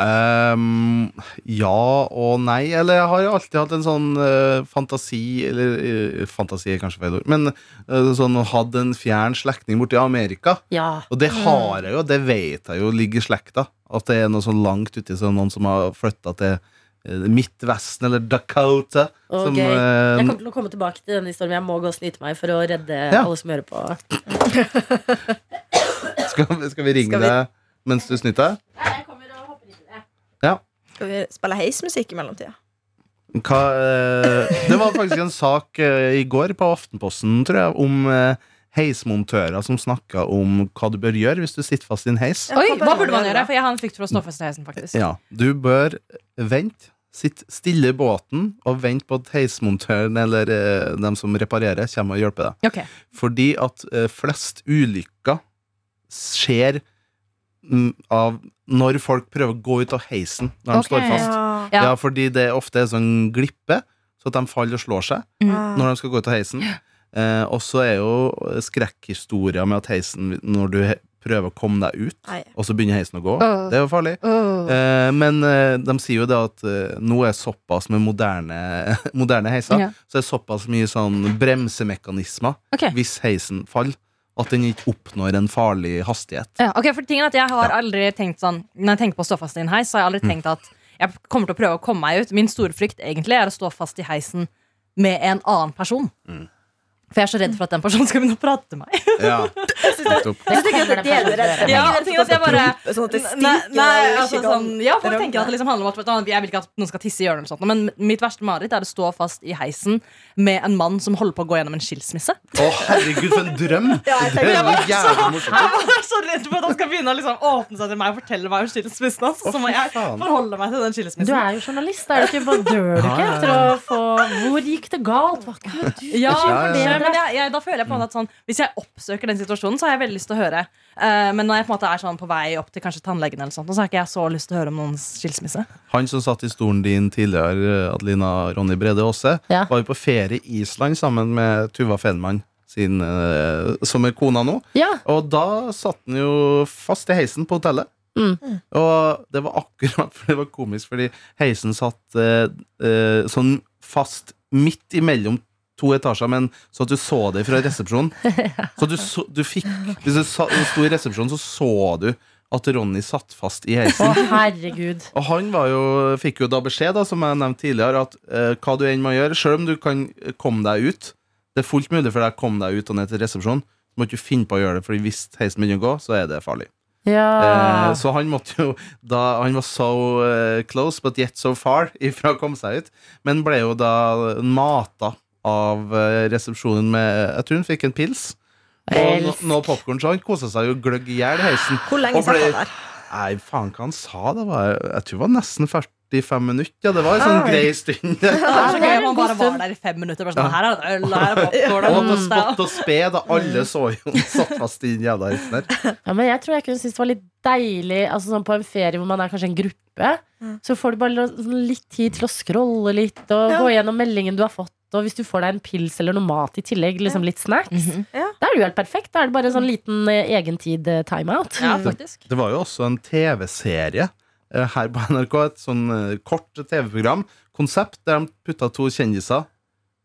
Speaker 3: Ehm, ja og nei. Eller jeg har jo alltid hatt en sånn eh, fantasi Eller eh, fantasi er kanskje feil ord, men eh, sånn hatt en fjern slektning borti Amerika.
Speaker 2: Ja.
Speaker 3: Og det har jeg jo, det vet jeg jo ligger i slekta. At det er noe sånn langt uti som noen som har flytta til eh, Midtvesten eller Dakota.
Speaker 2: Ok.
Speaker 3: Som,
Speaker 2: Jeg
Speaker 3: eh,
Speaker 2: kommer til å komme tilbake til denne historien, men jeg må gå og snyte meg for å redde
Speaker 3: Ja.
Speaker 2: alle som hører på.
Speaker 3: skal, vi- skal vi ringe
Speaker 4: Skal vi-
Speaker 3: deg mens du snyter?
Speaker 2: Jeg kommer og hopper inn i det.
Speaker 4: Skal vi spille heismusikk i mellomtida?
Speaker 3: Hva, eh, det var faktisk en sak eh, i går på Aftenposten, tror jeg, om eh, heismontører som snakka om hva du bør gjøre hvis du sitter fast i en heis.
Speaker 4: Ja,
Speaker 5: Oi, hva burde man gjøre? For jeg har en frykt for å stå fast i heisen, faktisk.
Speaker 3: Ja, du bør vente. Sitt stille i båten og vent på at heismontøren eller eh, dem som reparerer, kommer og hjelper deg.
Speaker 5: Ok,
Speaker 3: Fordi at eh, flest ulykker skjer mm, av når folk prøver å gå ut av heisen når de
Speaker 5: Ok,
Speaker 3: står fast.
Speaker 4: Ja.
Speaker 5: ja.
Speaker 3: Ja. fordi det ofte er sånn glippe, så at de faller og slår seg
Speaker 4: Ah.
Speaker 3: Mm. når de skal gå ut av heisen. Eh, og så er jo skrekkhistorier med at heisen, når du he prøver å komme deg ut,
Speaker 4: Nei.
Speaker 3: og så begynner heisen å gå.
Speaker 5: Åh.
Speaker 3: Det er jo farlig. Eh, men eh, de sier jo det at eh, nå er såpass med moderne, *laughs* moderne heiser,
Speaker 5: Ja.
Speaker 3: så er såpass mye sånn bremsemekanismer
Speaker 5: Ok.
Speaker 3: hvis heisen faller, at den ikke oppnår en farlig hastighet.
Speaker 5: Ja, ok, for tingen er at Jeg har aldri tenkt sånn Når jeg tenker på å stå fast i en heis, så har jeg aldri tenkt at jeg kommer til å prøve å komme meg ut. Min store frykt egentlig er å stå fast i heisen med en annen person. For jeg er så redd for at den personen skal begynne å prate til meg.
Speaker 3: Ja, *laughs* nettopp.
Speaker 2: Det kommer de
Speaker 4: deler
Speaker 2: fleste til å gjøre.
Speaker 5: *laughs* Ja, og tingen er at jeg bare
Speaker 4: Sånn at det stikker
Speaker 5: Nei, nei,
Speaker 4: og
Speaker 5: altså
Speaker 4: ikke kan
Speaker 5: sånn Ja, folk
Speaker 4: rømme.
Speaker 5: tenker at det liksom handler om at vet du, hva, Jeg vil ikke at noen skal tisse i hjørnet, eller sånt, men mitt verste mareritt er å stå fast i heisen med en mann som holder på å gå gjennom en skilsmisse.
Speaker 3: Å, herregud, for en drøm! Det er jo jævlig morsomt.
Speaker 5: Jeg var så redd for at han skal begynne å liksom åpne seg til meg og fortelle meg om skilsmissen hans. Så må
Speaker 3: fy
Speaker 5: jeg
Speaker 3: faen.
Speaker 5: forholde meg til den
Speaker 2: Du
Speaker 5: skilsmissen.
Speaker 2: er jo journalist, er du ikke? Hva dør du ikke
Speaker 3: Ja, ja, ja.
Speaker 2: etter å få Hvor gikk det galt? Hva kunne du
Speaker 5: Ja, for
Speaker 3: Ja, ja,
Speaker 5: det,
Speaker 3: ja.
Speaker 5: men jeg, jeg, da føler jeg på en måte at sånn Hvis jeg oppsøker den situasjonen, så har jeg veldig lyst til å høre. Eh, men når jeg på en måte er sånn på vei opp til kanskje tannlegen, eller sånt, så har ikke jeg så lyst til å høre om noens skilsmisse.
Speaker 3: Han som satt i stolen din tidligere, Adelina Ronny Brede Aase,
Speaker 2: Ja.
Speaker 3: var jo på ferie i Island sammen med Tuva Fenmann, sin, eh, som er kona nå.
Speaker 2: Ja,
Speaker 3: Og da satt han jo fast i heisen på hotellet.
Speaker 2: Mm.
Speaker 3: Og det var akkurat *laughs* for det var komisk, fordi heisen satt eh, eh, sånn fast midt imellom to etasjer, men så at du så det fra
Speaker 2: *laughs*
Speaker 3: resepsjonen. Så du, så, du fikk Hvis du sa- sto i resepsjonen, så så du at Ronny satt fast i heisen.
Speaker 2: Å, herregud.
Speaker 3: Og han var jo, fikk jo da beskjed, da, som jeg nevnte tidligere, at eh, hva du enn må gjøre, selv om du kan komme deg ut Det er fullt mulig for deg å komme deg ut og ned til resepsjonen. Du må ikke finne på å gjøre det, Fordi hvis heisen begynner å gå, så er det farlig.
Speaker 2: Ja.
Speaker 3: Eh, så han måtte jo da, Han var so eh, close, but yet so far *laughs* ifra å komme seg ut. Men ble jo da mata av eh, resepsjonen med Jeg tror hun fikk en pils. Og no,
Speaker 2: Elsk.
Speaker 3: noe popkorn, så han kosa seg jo gløgg i hjel i heisen.
Speaker 4: Hvor lenge
Speaker 3: Og ble-
Speaker 4: satt han der?
Speaker 3: Nei, faen hva han sa det var, Jeg tror det var nesten 45 minutter Ja, det var en sånn grei stund *laughs*
Speaker 5: Det er så gøy
Speaker 2: det er en
Speaker 5: om man bare
Speaker 2: god
Speaker 5: var
Speaker 2: stund.
Speaker 5: der i fem minutter. Bare sånn, her er det øl, og her er popcorn,
Speaker 3: Og
Speaker 5: og
Speaker 3: at det
Speaker 5: onsdag, og-
Speaker 3: spott og spe Da alle så jo han satt fast i den jævla heisen der
Speaker 2: ja, men jeg tror jeg kunne synes det var litt deilig Altså sånn på en ferie hvor man er kanskje en gruppe. Så får du bare la- sånn litt tid til å scrolle litt og
Speaker 4: Ja.
Speaker 2: gå gjennom meldingen du har fått. Og hvis du får deg en pils eller noe mat i tillegg, liksom litt snacks,
Speaker 5: Mhm.
Speaker 4: Ja.
Speaker 2: da er det jo helt perfekt. Da er det bare en sånn liten eh, egentid eh, timeout.
Speaker 5: Ja, faktisk.
Speaker 3: Det var jo også en tv-serie eh, Her på NRK Et sånn eh, kort tv-program Konsept der de puttet to kjendiser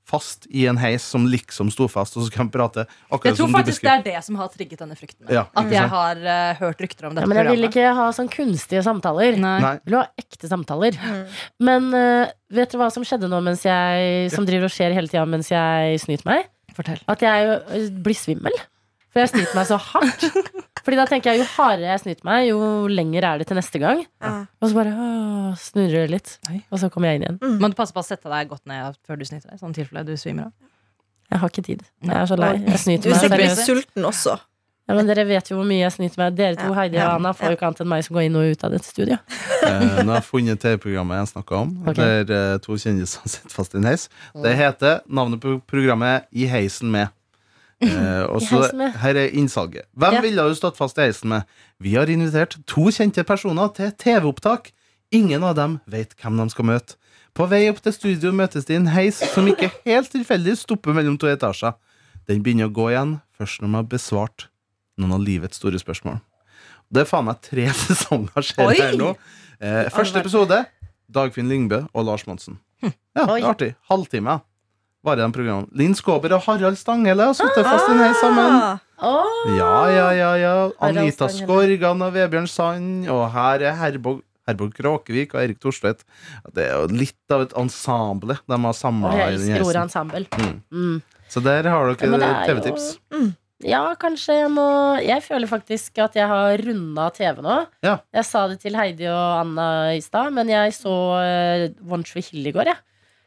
Speaker 3: Fast i en heis som liksom sto fast Og så kan de prate
Speaker 5: Jeg
Speaker 3: akkurat
Speaker 5: tror
Speaker 3: som du
Speaker 5: faktisk det
Speaker 3: beskriver
Speaker 5: er det som har trigget denne frykten.
Speaker 3: Ja,
Speaker 5: At
Speaker 3: ikke
Speaker 5: jeg
Speaker 3: sant?
Speaker 5: har eh, hørt rykter om
Speaker 2: Ja,
Speaker 5: dette
Speaker 2: men jeg vil
Speaker 5: programmet.
Speaker 2: ikke ha sånn kunstige samtaler.
Speaker 5: Nei.
Speaker 3: Nei,
Speaker 2: Jeg vil ha ekte samtaler. Men eh, vet dere hva som skjedde nå mens jeg, som driver og skjer hele tida mens jeg snyter meg?
Speaker 5: Fortell.
Speaker 2: At jeg eh, blir svimmel. For jeg snyter meg så hardt. Fordi da tenker jeg jo hardere jeg snyter meg, jo lenger er det til neste gang.
Speaker 4: Ja.
Speaker 2: Og så bare åh, snurrer det litt.
Speaker 5: Oi.
Speaker 2: Og så kommer jeg inn igjen.
Speaker 5: Men pass på å sette deg godt ned før du snyter deg. Sånn tilfelle du svimer av.
Speaker 2: Jeg har ikke tid. Jeg er så lei. Jeg
Speaker 4: Du
Speaker 2: snyter
Speaker 4: er
Speaker 2: meg.
Speaker 5: blir
Speaker 4: sikkert
Speaker 2: seriøst.
Speaker 5: seriøst.
Speaker 4: sulten også.
Speaker 2: Ja, men dere vet jo hvor mye jeg snyter meg. Dere to,
Speaker 4: Ja.
Speaker 2: Heidi og
Speaker 4: Ja.
Speaker 2: Anna, får jo ikke annet enn meg som går inn og ut av dette studioet.
Speaker 3: Eh, Nå har jeg funnet TV-programmet jeg snakket om
Speaker 2: Ok.
Speaker 3: Der eh, to kjendiser *laughs* sitter fast i en heis Det heter, navnet på programmet er I heisen med
Speaker 2: *laughs*
Speaker 3: Eh, og
Speaker 2: I
Speaker 3: så
Speaker 2: heisen med.
Speaker 3: her er innsalget Hvem
Speaker 2: Ja.
Speaker 3: ville du stått fast i heisen med? Vi har invitert to kjente personer til TV-opptak Ingen av dem vet hvem de skal møte På vei opp til studio møtes de i en heis Som
Speaker 2: *laughs*
Speaker 3: ikke helt tilfeldig stopper mellom to etasjer Den begynner å gå igjen Først når man har besvart noen av livets store spørsmål Det er faen meg tre *laughs* sesonger skjer
Speaker 5: Oi!
Speaker 3: her nå Eh, første episode Dagfinn Lyngbø og Lars Monsen.
Speaker 2: Hm.
Speaker 3: Ja, det er artig. Halvtime. Varer de programmene. Linn Skåber og Harald Stanghelle har sittet fast i en heis sammen.
Speaker 4: Ah,
Speaker 3: Ja, ja, ja, ja. Anita
Speaker 2: Stanghelle.
Speaker 3: Skorgan og Vebjørn Sand. Og her er Herborg, Herborg Kråkevik og Erik Thorstvedt. Det er jo litt av et ensemble de har samla
Speaker 2: Og
Speaker 3: i
Speaker 2: jeg
Speaker 3: den
Speaker 2: elsker ordet
Speaker 3: heisen.
Speaker 2: ensemble.
Speaker 3: Mm.
Speaker 2: Mm.
Speaker 3: Så der har
Speaker 2: Ja, men det
Speaker 3: dere
Speaker 2: er jo-
Speaker 3: TV-tips.
Speaker 2: Ja, kanskje jeg må Jeg føler faktisk at jeg har runda TV nå.
Speaker 3: Ja.
Speaker 2: Jeg sa det til Heidi og Anna i stad, men jeg så eh, One Tree Hill i går, jeg.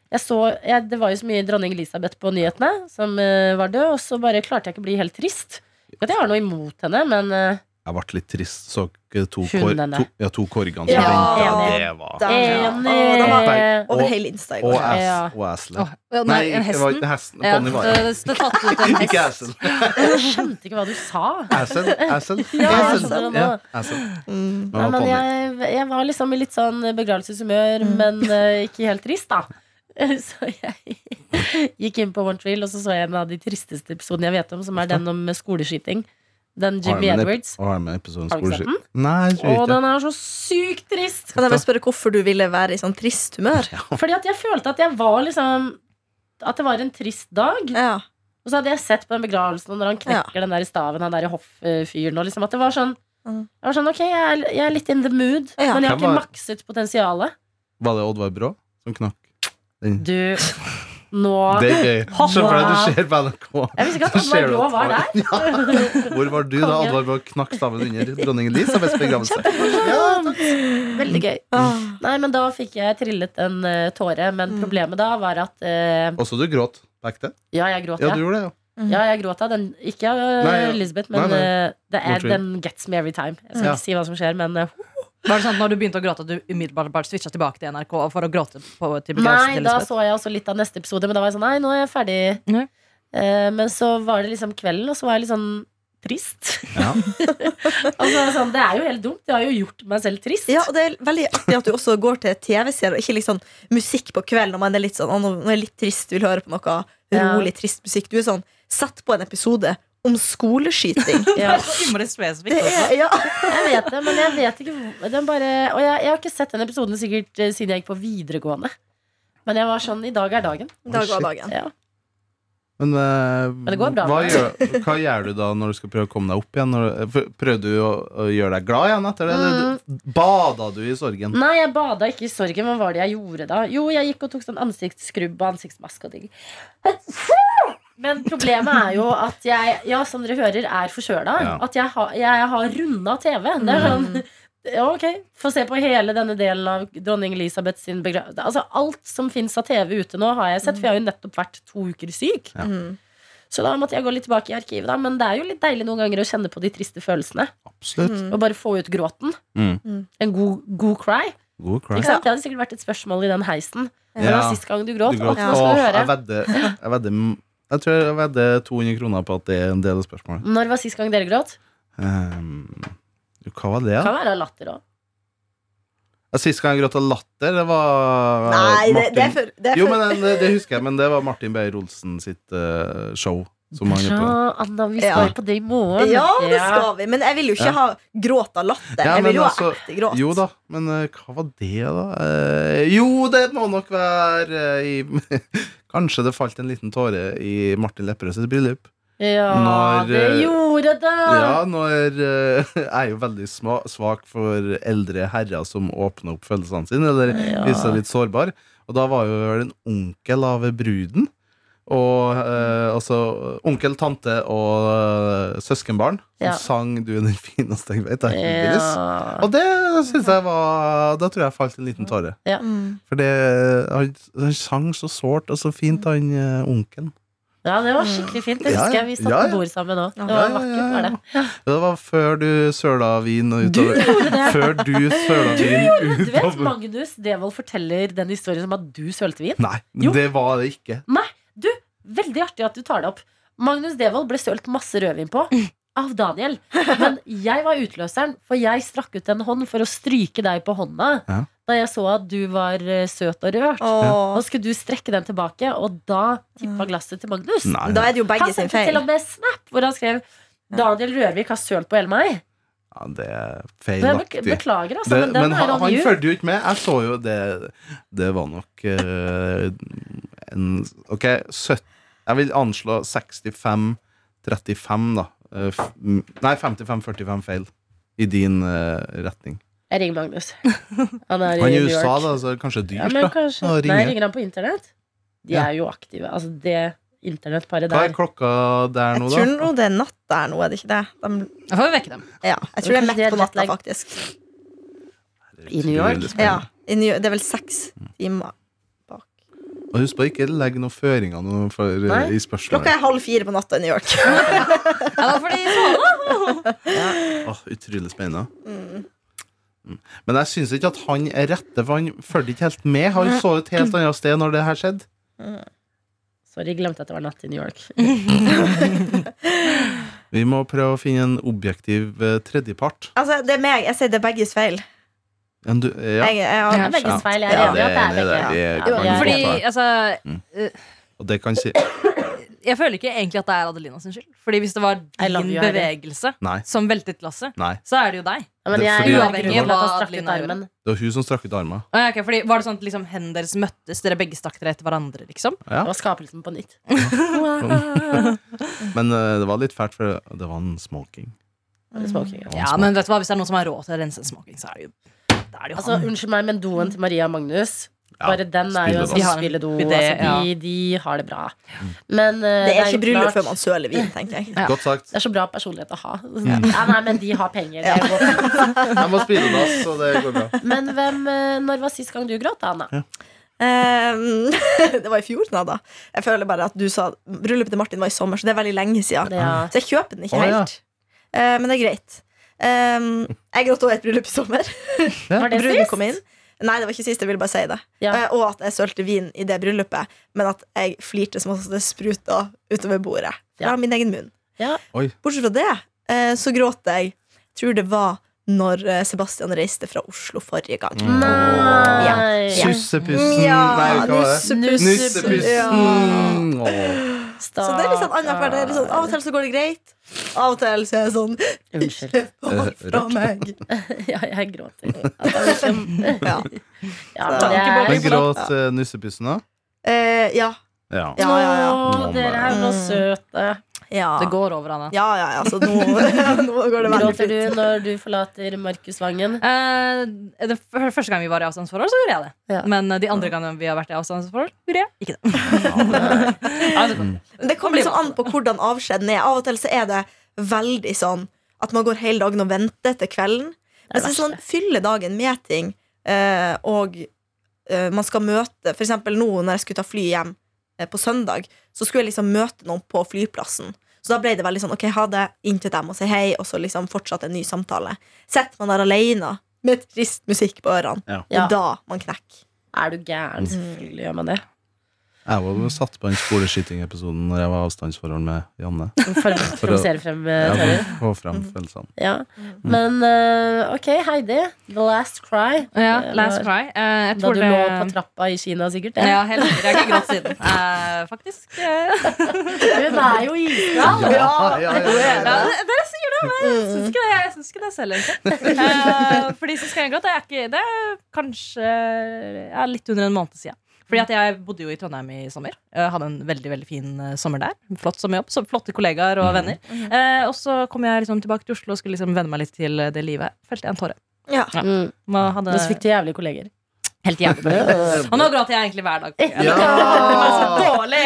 Speaker 2: jeg så, jeg, Det var jo så mye dronning Elisabeth på nyhetene, som eh, var død, og så bare klarte jeg ikke å bli helt trist. Ikke at jeg har noe imot henne, men eh,
Speaker 3: Jeg ble litt trist. Så ikke to,
Speaker 2: Hun
Speaker 3: kor,
Speaker 2: denne.
Speaker 3: to, ja, to korgene som
Speaker 4: Ja,
Speaker 3: venta.
Speaker 2: enig.
Speaker 3: Det var
Speaker 4: Der, ja.
Speaker 2: enig.
Speaker 4: Å, den var
Speaker 3: Berg-
Speaker 4: Over
Speaker 3: og-
Speaker 4: hele Insta i
Speaker 3: Og
Speaker 4: går.
Speaker 2: Ja.
Speaker 3: ass- og Asle.
Speaker 5: Åh,
Speaker 3: Nei,
Speaker 5: ja, nei, en
Speaker 3: det var
Speaker 5: hesten.
Speaker 3: ikke hesten.
Speaker 5: Ja, eh,
Speaker 3: Bonnie var
Speaker 2: Eh,
Speaker 5: det, det, det tatt ut en
Speaker 3: *laughs* Ikke
Speaker 5: hest.
Speaker 3: Asle.
Speaker 2: *laughs* Jeg skjønte ikke hva du sa.
Speaker 3: Asle. Asle.
Speaker 2: *laughs* Ja,
Speaker 4: jeg
Speaker 2: skjønner det nå.
Speaker 3: Ja, Asle.
Speaker 4: Mm.
Speaker 2: Nei,
Speaker 3: Ja,
Speaker 2: men
Speaker 3: Bonnie.
Speaker 2: jeg, jeg var liksom i litt sånn begravelseshumør,
Speaker 4: Mm.
Speaker 2: men eh, ikke helt trist, da. *laughs* Så jeg gikk inn på One Trill, og så så jeg en av de tristeste episodene jeg vet om, som er den om skoleskyting. Den Jimmy
Speaker 3: Armen er-
Speaker 2: Edwards.
Speaker 3: Arme episoden
Speaker 2: Har du ikke sett
Speaker 3: skoleskyt-
Speaker 2: den?
Speaker 3: Nei, jeg
Speaker 2: Å,
Speaker 3: tror ikke
Speaker 2: den er så sykt trist!
Speaker 4: Kan jeg bare spørre hvorfor du ville være i sånn trist humør?
Speaker 2: Fordi at jeg følte at jeg var liksom At det var en trist dag.
Speaker 4: Ja.
Speaker 2: Og så hadde jeg sett på den begravelsen, og når han knekker den der i staven, han der hofffyren, og liksom at det var sånn
Speaker 4: Mm.
Speaker 2: Jeg var sånn, ok, jeg er, jeg er litt in the mood,
Speaker 4: Ja.
Speaker 2: men jeg har ikke
Speaker 3: Hvem var-
Speaker 2: makset potensialet.
Speaker 3: Var det Oddvar Brå som knakk? Den.
Speaker 2: Du, nå
Speaker 3: Det er gøy.
Speaker 2: Hoppa.
Speaker 3: Selvfølgelig du ser på NRK. *laughs*
Speaker 2: Jeg visste ikke at
Speaker 3: Så
Speaker 2: han var
Speaker 3: ser du
Speaker 2: blå
Speaker 3: at-
Speaker 2: var der.
Speaker 3: *laughs* Hvor var du da
Speaker 2: Konge.
Speaker 3: Oddvar Brå knakk staven under dronning Elisabeths
Speaker 2: *laughs*
Speaker 3: begravelse?
Speaker 2: Veldig gøy.
Speaker 4: Ah.
Speaker 2: Nei, men da fikk jeg trillet en eh, tåre, men
Speaker 4: Mm.
Speaker 2: problemet da var at eh,
Speaker 3: Også du gråt på ekte?
Speaker 2: Ja, jeg gråt,
Speaker 3: Ja,
Speaker 2: ja.
Speaker 3: du gjorde
Speaker 2: *laughs*
Speaker 3: det, ja.
Speaker 2: Ja, jeg gråt av den. Ikke av eh,
Speaker 3: Nei, ja.
Speaker 2: Elizabeth,
Speaker 3: Nei,
Speaker 2: men
Speaker 3: nei.
Speaker 2: eh, det
Speaker 3: No
Speaker 2: er,
Speaker 3: tvil.
Speaker 2: den gets me every time. Jeg skal
Speaker 3: Ja.
Speaker 2: ikke si hva som skjer, men eh,
Speaker 5: Var det sånn at når du begynte å gråte, at du umiddelbart bare switcha tilbake til NRK for å gråte på, til begravelsen
Speaker 2: Nei,
Speaker 5: til
Speaker 2: da
Speaker 5: Elisabeth?
Speaker 2: så jeg også litt av neste episode, men da var jeg sånn Nei, nå er jeg ferdig.
Speaker 5: Nei.
Speaker 2: Eh, men så var det liksom kvelden, og så var jeg litt sånn trist. *laughs*
Speaker 3: Ja.
Speaker 2: og så var jeg sånn, Det er jo helt dumt. Jeg har jo gjort meg selv trist.
Speaker 4: Ja, og Det er veldig artig at du også går til TV-serier og ikke liksom musikk på kvelden. Når man er litt sånn, «Å, nå nå er jeg litt trist, vil høre på noe
Speaker 2: Ja.
Speaker 4: rolig, trist musikk. Du er sånn, Sett på en episode om skoleskyting.
Speaker 2: Ja,
Speaker 5: Det er så innmari spesifikt
Speaker 4: Det
Speaker 5: også.
Speaker 4: er, ja.
Speaker 2: jeg vet det, men jeg vet ikke hvor- den bare, Og jeg, jeg har ikke sett den episoden sikkert eh, siden jeg gikk på videregående. Men jeg var sånn I dag er dagen.
Speaker 4: Dag var dagen.
Speaker 2: Ja.
Speaker 3: Men, eh,
Speaker 2: det går bra
Speaker 3: hva,
Speaker 2: med
Speaker 3: gjør, hva gjør du da når du skal prøve å komme deg opp igjen? Når, f- prøvde du å, å gjøre deg glad igjen etter det? Mm. Bada du i sorgen?
Speaker 2: Nei, jeg bada ikke i sorgen. Hva var det jeg gjorde da? Jo, jeg gikk og tok sånn ansiktsskrubb og ansiktsmaske og ting. Men problemet er jo at jeg, ja, som dere hører, er forkjøla.
Speaker 3: Ja.
Speaker 2: At jeg, har- jeg har runda TV. Det er sånn ja, ok, Få se på hele denne delen av dronning Elisabeth sin begravelse. Altså, alt som fins av TV ute nå, har jeg sett, for jeg har jo nettopp vært to uker syk.
Speaker 3: Ja.
Speaker 4: Mm.
Speaker 2: Så da måtte jeg gå litt tilbake i arkivet, da. Men det er jo litt deilig noen ganger å kjenne på de triste følelsene.
Speaker 3: Absolutt.
Speaker 4: Mm.
Speaker 2: Og bare få ut gråten.
Speaker 3: Mm.
Speaker 2: En god, god cry.
Speaker 3: God cry.
Speaker 2: Ikke sant? Det hadde sikkert vært et spørsmål i den heisen. Når
Speaker 3: Ja.
Speaker 2: var sist gang du gråt?
Speaker 3: Du gråt.
Speaker 2: Alt man skal
Speaker 3: Åh,
Speaker 2: høre.
Speaker 3: jeg vedder jeg, vedder m- jeg tror jeg vedder 200 kroner på at det er en del av spørsmålet.
Speaker 2: Når var sist gang dere gråt?
Speaker 3: Ehm, jo, hva var det,
Speaker 2: Det
Speaker 3: da?
Speaker 2: kan være av latter òg.
Speaker 3: Ja, Sist gang jeg gråt av latter, det var eh,
Speaker 4: Nei, det,
Speaker 3: Martin-
Speaker 4: det er for, det er
Speaker 3: Jo,
Speaker 4: for
Speaker 3: men eh, det, det husker jeg, men det var Martin Beyer-Olsen sitt eh, show. Som han er på.
Speaker 2: Anna, vi skal
Speaker 4: Ja.
Speaker 2: jo på det i morgen.
Speaker 4: Ja, det skal vi. Men jeg vil jo ikke
Speaker 3: Ja.
Speaker 4: ha gråt av latter.
Speaker 3: Ja,
Speaker 4: jeg
Speaker 3: men
Speaker 4: vil jo ha
Speaker 3: altså,
Speaker 4: ekte gråt.
Speaker 3: Jo da, men eh, hva var det, da? Eh, jo, det må nok være eh, i *laughs* Kanskje det falt en liten tåre i Martin Lepperød sitt bryllup.
Speaker 2: Ja,
Speaker 3: Når,
Speaker 2: det
Speaker 3: eh,
Speaker 2: gjorde det!
Speaker 3: Ja, når eh, *laughs* Jeg er jo veldig sma, svak for eldre herrer som åpner opp følelsene sine, eller
Speaker 2: Ja.
Speaker 3: viser seg litt sårbar. Og da var jo vel en onkel av bruden. Og eh, altså onkel, tante og eh, søskenbarn som
Speaker 2: Ja.
Speaker 3: sang 'Du er den fineste jeg vet'. Det er hyggelig.
Speaker 2: Ja.
Speaker 3: Og det synes jeg var Da tror jeg falt en liten tåre.
Speaker 4: Mm.
Speaker 3: For det, han, han sang så sårt og så fint, han eh, onkelen.
Speaker 2: ja, det var skikkelig fint. Det
Speaker 3: Ja,
Speaker 2: husker
Speaker 3: ja.
Speaker 2: jeg vi satt
Speaker 3: Ja, ja.
Speaker 2: på bord sammen òg. Det
Speaker 4: Ja,
Speaker 2: var
Speaker 3: ja,
Speaker 2: vakkert.
Speaker 3: ja,
Speaker 2: Var
Speaker 3: ja. *laughs*
Speaker 2: det.
Speaker 3: Det var før du søla vin og utover. Før du søla vin
Speaker 2: Du vet,
Speaker 3: utover.
Speaker 2: Magnus Devold forteller den historien som at du sølte vin.
Speaker 3: Nei,
Speaker 2: Jo.
Speaker 3: det var det ikke.
Speaker 2: Veldig artig at du tar det opp. Magnus Devold ble sølt masse rødvin på av Daniel. Men jeg var utløseren, for jeg strakk ut en hånd for å stryke deg på hånda
Speaker 3: Ja.
Speaker 2: da jeg så at du var eh, søt og rørt.
Speaker 4: Åh.
Speaker 2: Nå skulle du strekke den tilbake, og da tippa glasset til Magnus.
Speaker 3: Nei,
Speaker 4: Da er det jo begge
Speaker 2: Han
Speaker 4: sin
Speaker 2: sendte til
Speaker 4: feil.
Speaker 2: og med snap hvor han skrev Daniel Rørvik har sølt på hele meg.
Speaker 3: Ja, det er
Speaker 2: Så jeg bek-
Speaker 3: feilaktig.
Speaker 2: beklager, altså,
Speaker 3: Det,
Speaker 2: men den
Speaker 3: men
Speaker 2: er
Speaker 3: han,
Speaker 2: on
Speaker 3: han
Speaker 2: you.
Speaker 3: fulgte jo ikke med. Jeg så jo det Det var nok eh, en Ok, 70 Jeg vil anslå 65-35, da. Eh, f- m- Nei, 55-45 feil. I din eh, retning.
Speaker 2: Jeg ringer
Speaker 3: *laughs*
Speaker 2: Magnus. Han er i
Speaker 3: Han er i
Speaker 2: New
Speaker 3: USA,
Speaker 2: York.
Speaker 3: da, så det er kanskje
Speaker 2: Ja,
Speaker 3: dyrt, *laughs*
Speaker 2: men
Speaker 3: da.
Speaker 2: kanskje
Speaker 3: Å,
Speaker 2: Nei,
Speaker 3: ringe.
Speaker 2: ringer han på internett? De
Speaker 3: Ja.
Speaker 2: er jo aktive. Altså, det internettparet
Speaker 3: Hva er
Speaker 2: der
Speaker 3: klokka der
Speaker 4: Jeg
Speaker 3: nå,
Speaker 4: tror
Speaker 3: da?
Speaker 4: nå det er natt der nå, er det ikke det? De,
Speaker 5: Jeg får vekke dem.
Speaker 4: ja, jeg tror det er
Speaker 2: Kanskje det
Speaker 4: mett
Speaker 2: er
Speaker 4: på natta,
Speaker 2: jetlag.
Speaker 4: faktisk.
Speaker 2: i New York.
Speaker 3: Utrolig spennende.
Speaker 4: Ja, i New- Det er vel seks timer bak.
Speaker 3: Og husk på å ikke legge noen føringer nå for, eh,
Speaker 2: Nei.
Speaker 3: i
Speaker 4: Klokka
Speaker 3: spørsmålet.
Speaker 4: er halv fire på natta i New York. *laughs*
Speaker 5: Ja, fordi så,
Speaker 3: Åh, utrolig spennende. Mm. Men jeg syns ikke at han er rette, for han fulgte ikke helt med. Han så et helt annet sted når det her skjedde.
Speaker 2: Sorry, glemte at det var natt i New York.
Speaker 3: Vi må prøve å finne en objektiv eh, tredjepart.
Speaker 4: Altså, det er meg. Jeg sier det er begges feil.
Speaker 3: En du, eh, ja.
Speaker 4: Jeg, jeg,
Speaker 2: Det er
Speaker 4: har-
Speaker 2: begges feil. Jeg er
Speaker 3: Ja,
Speaker 2: enig i at det er
Speaker 3: det er
Speaker 2: begge.
Speaker 3: det. Det
Speaker 2: Ja,
Speaker 3: kan
Speaker 2: jeg er
Speaker 5: fordi
Speaker 2: enig.
Speaker 5: altså,
Speaker 3: Og det kan si
Speaker 5: Jeg føler ikke egentlig at det er Adelina sin skyld. Fordi hvis det var
Speaker 2: I love
Speaker 5: din
Speaker 2: you, Harry.
Speaker 5: bevegelse
Speaker 3: Nei.
Speaker 5: som veltet lasset,
Speaker 3: Nei.
Speaker 5: så er det jo deg.
Speaker 2: Ja, men
Speaker 3: Det er
Speaker 2: jeg
Speaker 3: fordi-
Speaker 2: er uavhengig av at han strakk ut
Speaker 5: Adelina gjorde.
Speaker 2: armen.
Speaker 3: Det var hun som strakk ut armen.
Speaker 5: Ah, ja, ok, fordi Var det sånn at liksom, hendene deres møttes, dere begge stakk dere etter hverandre? liksom?
Speaker 3: Ja.
Speaker 2: Det var skapelsen på nytt.
Speaker 3: Men eh, det var litt fælt, for det var en smoking.
Speaker 2: Smoking, ja.
Speaker 3: Det var en
Speaker 5: Ja,
Speaker 3: smoking.
Speaker 5: men vet du hva, Hvis det er noen som har råd til å rense en smoking, så er det jo, da er det jo
Speaker 2: Altså,
Speaker 5: han.
Speaker 2: Unnskyld meg, men doen til Maria og Magnus
Speaker 3: Ja,
Speaker 2: Bare den er jo en
Speaker 3: spilledo.
Speaker 5: De
Speaker 2: sånn
Speaker 5: har en-
Speaker 2: spilledo.
Speaker 5: det-
Speaker 2: altså, de, de har det bra.
Speaker 3: Mm.
Speaker 2: Men eh,
Speaker 4: det er ikke
Speaker 2: jo
Speaker 4: bryllup
Speaker 2: klart-
Speaker 4: før man søler vin, tenkte
Speaker 2: *laughs*
Speaker 4: jeg.
Speaker 5: Ja.
Speaker 3: Godt sagt.
Speaker 2: Det er så bra personlighet å ha. *laughs* Ja, nei, men de har penger. Det går fint.
Speaker 3: Jeg må spille dass, så det går bra.
Speaker 2: Men hvem, eh, når var sist gang du gråt, Anna?
Speaker 4: Ehm, *laughs* det var i fjor, da. Jeg føler bare at du sa Bryllupet til Martin var i sommer, så det er veldig lenge siden.
Speaker 2: Ja.
Speaker 4: Så jeg kjøper den ikke
Speaker 3: Å, ja.
Speaker 4: helt. Eh, men det er greit. Ehm, jeg gråt også i et bryllup i sommer.
Speaker 2: Var det
Speaker 4: Bruden
Speaker 2: sist?
Speaker 4: kom inn. Nei, det var ikke sist. Jeg ville bare si det.
Speaker 2: Ja.
Speaker 4: Eh, og at jeg sølte vin i det bryllupet, men at jeg flirte som om det spruta utover bordet. Fra
Speaker 2: Ja.
Speaker 4: min egen munn.
Speaker 2: Ja.
Speaker 3: Oi.
Speaker 4: Bortsett fra det, eh, så gråt jeg. Tror det var når eh, Sebastian reiste fra Oslo forrige gang.
Speaker 2: Mm. Nei.
Speaker 4: Ja.
Speaker 3: Sussepussen Nei, hva var det?
Speaker 4: nussepuss.
Speaker 3: Nussepussen! Åh.
Speaker 4: Så det er litt sånn annet hver dag. Det er litt sånn, Av og til så går det greit. Av og til så er jeg sånn *laughs*
Speaker 2: Unnskyld.
Speaker 4: Ikke bort fra
Speaker 2: *laughs*
Speaker 4: meg.
Speaker 2: Ja, jeg gråter.
Speaker 4: *laughs*
Speaker 2: Altså, unnskyld.
Speaker 4: Ja.
Speaker 2: Ja,
Speaker 4: Takk,
Speaker 2: det er liksom
Speaker 3: Men gråt eh, nussepussen, da?
Speaker 4: Eh, ja.
Speaker 3: Ja.
Speaker 4: Ja, ja, ja.
Speaker 2: Å, dere er så søte.
Speaker 4: Ja,
Speaker 5: Det går over, Anna.
Speaker 4: ja, ja, ja. Så nå, *laughs* nå går det veldig
Speaker 2: Gråter
Speaker 4: fint.
Speaker 2: du når du forlater Markus Vangen?
Speaker 5: Eh, det f- første gang vi var i avstandsforhold, så gjorde jeg det.
Speaker 2: Ja.
Speaker 5: Men eh, de andre gangene vi har vært i avstandsforhold, gjorde jeg ikke *laughs* det.
Speaker 4: Men Det kommer liksom an på hvordan avskjeden er. Av og til så er det veldig sånn at man går hele dagen og venter til kvelden.
Speaker 2: Det
Speaker 4: Men
Speaker 2: er
Speaker 4: så
Speaker 2: det
Speaker 4: hvis man fyller dagen med ting, eh, og eh, man skal møte For eksempel nå når jeg skulle ta fly hjem eh, på søndag, så skulle jeg liksom møte noen på flyplassen. Så da ble det veldig sånn ok, ha det inn til dem og si hei, og så liksom fortsatte en ny samtale. Sitter man der alene med trist musikk på ørene,
Speaker 3: Ja.
Speaker 4: det
Speaker 2: Ja.
Speaker 4: er da man knekker.
Speaker 2: Er du
Speaker 4: Mm.
Speaker 2: gæren? Selvfølgelig gjør
Speaker 4: *laughs*
Speaker 2: man det.
Speaker 3: Jeg var jo satt på den skoleskyting-episoden når jeg var avstandsforhold med Janne.
Speaker 2: For å provosere frem eh,
Speaker 3: Jeg
Speaker 2: tårer.
Speaker 3: må få frem følelsene.
Speaker 2: Ja.
Speaker 4: Mm.
Speaker 2: Men eh, ok, Heidi. The Last Cry.
Speaker 5: *laughs* Ja,
Speaker 2: Det
Speaker 5: last
Speaker 2: var-
Speaker 5: cry. Eh, jeg
Speaker 2: Da
Speaker 5: tror
Speaker 2: du
Speaker 5: det...
Speaker 2: lå på trappa i Kina, sikkert. det.
Speaker 5: Ja, helt sikkert. Jeg har ikke grått siden, eh, faktisk. Eh,
Speaker 2: *laughs* Hun er jo iskald!
Speaker 3: Ja, ja, ja,
Speaker 5: ja, dere sier det, men jeg syns ikke det, jeg syns ikke det selv, egentlig. Eh, fordi sist gang jeg gråt, det er ikke Det er kanskje ja, litt under en måned siden. Fordi at jeg bodde jo i Trondheim i sommer. Jeg hadde en veldig veldig fin eh, sommer der. Flott sommerjobb. Så flotte kollegaer og venner. Eh, og så kom jeg liksom tilbake til Oslo og skulle liksom venne meg litt til det livet. Felte jeg en tåre.
Speaker 4: Ja.
Speaker 2: Mm.
Speaker 5: Man hadde
Speaker 2: Men så fikk du jævlige kolleger.
Speaker 5: helt jævlig *laughs* Og nå gråter jeg egentlig hver dag.
Speaker 3: Ja.
Speaker 5: Det var så dårlig!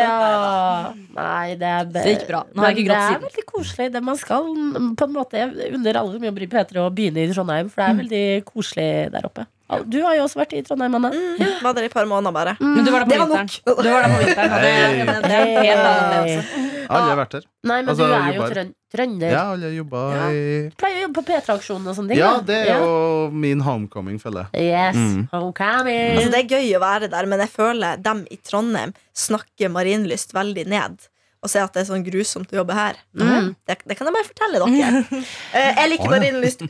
Speaker 2: Ja. Nei, det er
Speaker 5: Det gikk bra. Nå har jeg
Speaker 2: Men
Speaker 5: ikke grått
Speaker 2: Det
Speaker 5: siden.
Speaker 2: er veldig koselig. Det man skal mm, på en måte Jeg unner alle som jobber i P3 å begynne i Trondheim, for
Speaker 5: Mm.
Speaker 2: det er veldig koselig der oppe. Al- Du har jo også vært i Trondheim, Anne.
Speaker 4: Mm, var der i et par måneder bare.
Speaker 5: Men du var der
Speaker 4: Det
Speaker 5: på
Speaker 4: var
Speaker 5: vinteren.
Speaker 4: nok.
Speaker 5: Du var der på vinteren. og
Speaker 3: Hei.
Speaker 5: Det, det er en helt annen del.
Speaker 2: Hei.
Speaker 3: Alle har vært der.
Speaker 2: Nei, men
Speaker 3: Altså,
Speaker 2: du er jo
Speaker 3: jobber.
Speaker 2: trøn- trønder.
Speaker 3: Ja, alle jobba i
Speaker 2: Du pleier å jobbe på P3-aksjonen og sånne ting.
Speaker 3: Ja,
Speaker 2: da.
Speaker 3: det er jo min homecoming, føler jeg.
Speaker 2: Yes.
Speaker 3: Mm.
Speaker 2: Homecoming.
Speaker 4: Altså, det er gøy å være der, men jeg føler dem i Trondheim snakker marinlyst veldig ned. Og sier at det er sånn grusomt å jobbe her.
Speaker 2: Mm.
Speaker 4: Det, det kan jeg bare
Speaker 2: *laughs*
Speaker 4: fortelle dere. Eh, jeg liker
Speaker 3: Å, ja.
Speaker 4: marinlyst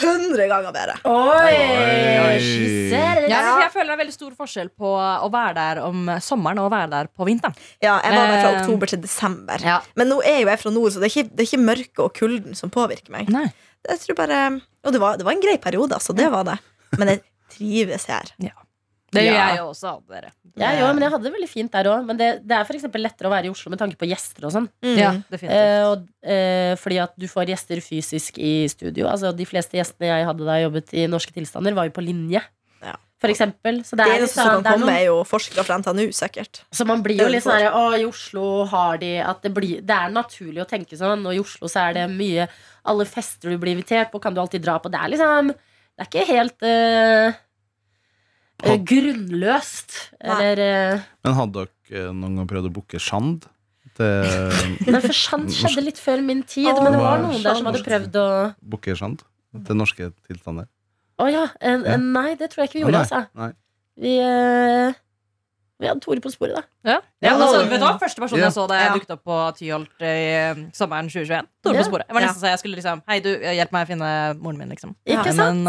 Speaker 4: 100 ganger bedre.
Speaker 2: Oi!
Speaker 3: Oi.
Speaker 2: Skisser.
Speaker 5: Ja,
Speaker 4: Ja.
Speaker 5: men jeg føler det er veldig stor forskjell på å være der om sommeren og å være der på vinteren.
Speaker 4: Ja, jeg var der fra
Speaker 5: Eh,
Speaker 4: oktober til desember.
Speaker 5: ja.
Speaker 4: Men nå er jo jeg fra nord, så det er ikke, det er ikke mørket og kulden som påvirker meg.
Speaker 5: Nei.
Speaker 4: Jeg tror bare, og det var, det var en grei periode, altså. Det var det. Men jeg trives her.
Speaker 5: Det gjør
Speaker 2: Ja.
Speaker 5: jeg jo også. Dere.
Speaker 2: Jeg òg, men jeg hadde det veldig fint der òg. Men det, det er for eksempel lettere å være i Oslo med tanke på gjester og sånn.
Speaker 4: Mm.
Speaker 5: Ja, Mm, definitivt.
Speaker 2: Eh, og, eh, fordi at du får gjester fysisk i studio. Altså De fleste gjestene jeg hadde da jeg jobbet i Norske Tilstander, var jo på linje.
Speaker 4: Ja.
Speaker 2: For eksempel. Så det
Speaker 4: Det
Speaker 2: er,
Speaker 4: eneste
Speaker 2: liksom,
Speaker 4: som kan
Speaker 2: det er
Speaker 4: komme,
Speaker 2: noen,
Speaker 4: er jo forskere fra NTNU,
Speaker 2: *laughs*
Speaker 4: sikkert.
Speaker 2: så man blir jo litt sånn her, Å, i Oslo har de at det, blir, det er naturlig å tenke sånn, og i Oslo så er det mye Alle fester du blir invitert på, kan du alltid dra på. Det er liksom Det er ikke helt eh, Eh, grunnløst.
Speaker 4: Nei.
Speaker 2: Eller eh,
Speaker 3: Men hadde dere eh, noen gang prøvd å booke Shand? Til,
Speaker 2: *laughs* Nei, for sant skjedde litt før min tid, men det var
Speaker 3: Åh,
Speaker 2: noen der som hadde
Speaker 3: sant.
Speaker 2: prøvd å
Speaker 3: booke Shand? Til norske tilstander?
Speaker 2: Å ja. En,
Speaker 3: Ja.
Speaker 2: en, nei, det tror jeg ikke vi
Speaker 3: Å,
Speaker 2: gjorde,
Speaker 3: nei,
Speaker 2: altså.
Speaker 3: nei.
Speaker 2: Vi, eh, vi hadde Tore på sporet, da.
Speaker 5: Ja.
Speaker 3: Ja,
Speaker 5: altså,
Speaker 3: og-
Speaker 5: vet du hva? Første personen
Speaker 3: Ja.
Speaker 5: jeg så da jeg
Speaker 4: Ja.
Speaker 5: dukket opp på Tyholt i eh, sommeren 2021. Tore
Speaker 2: Ja.
Speaker 5: på sporet. Det var
Speaker 4: Ja.
Speaker 5: nesten så jeg skulle liksom Hei, du, hjelp meg å finne moren min, liksom.
Speaker 2: Ikke
Speaker 5: Ja,
Speaker 2: sant?
Speaker 5: men,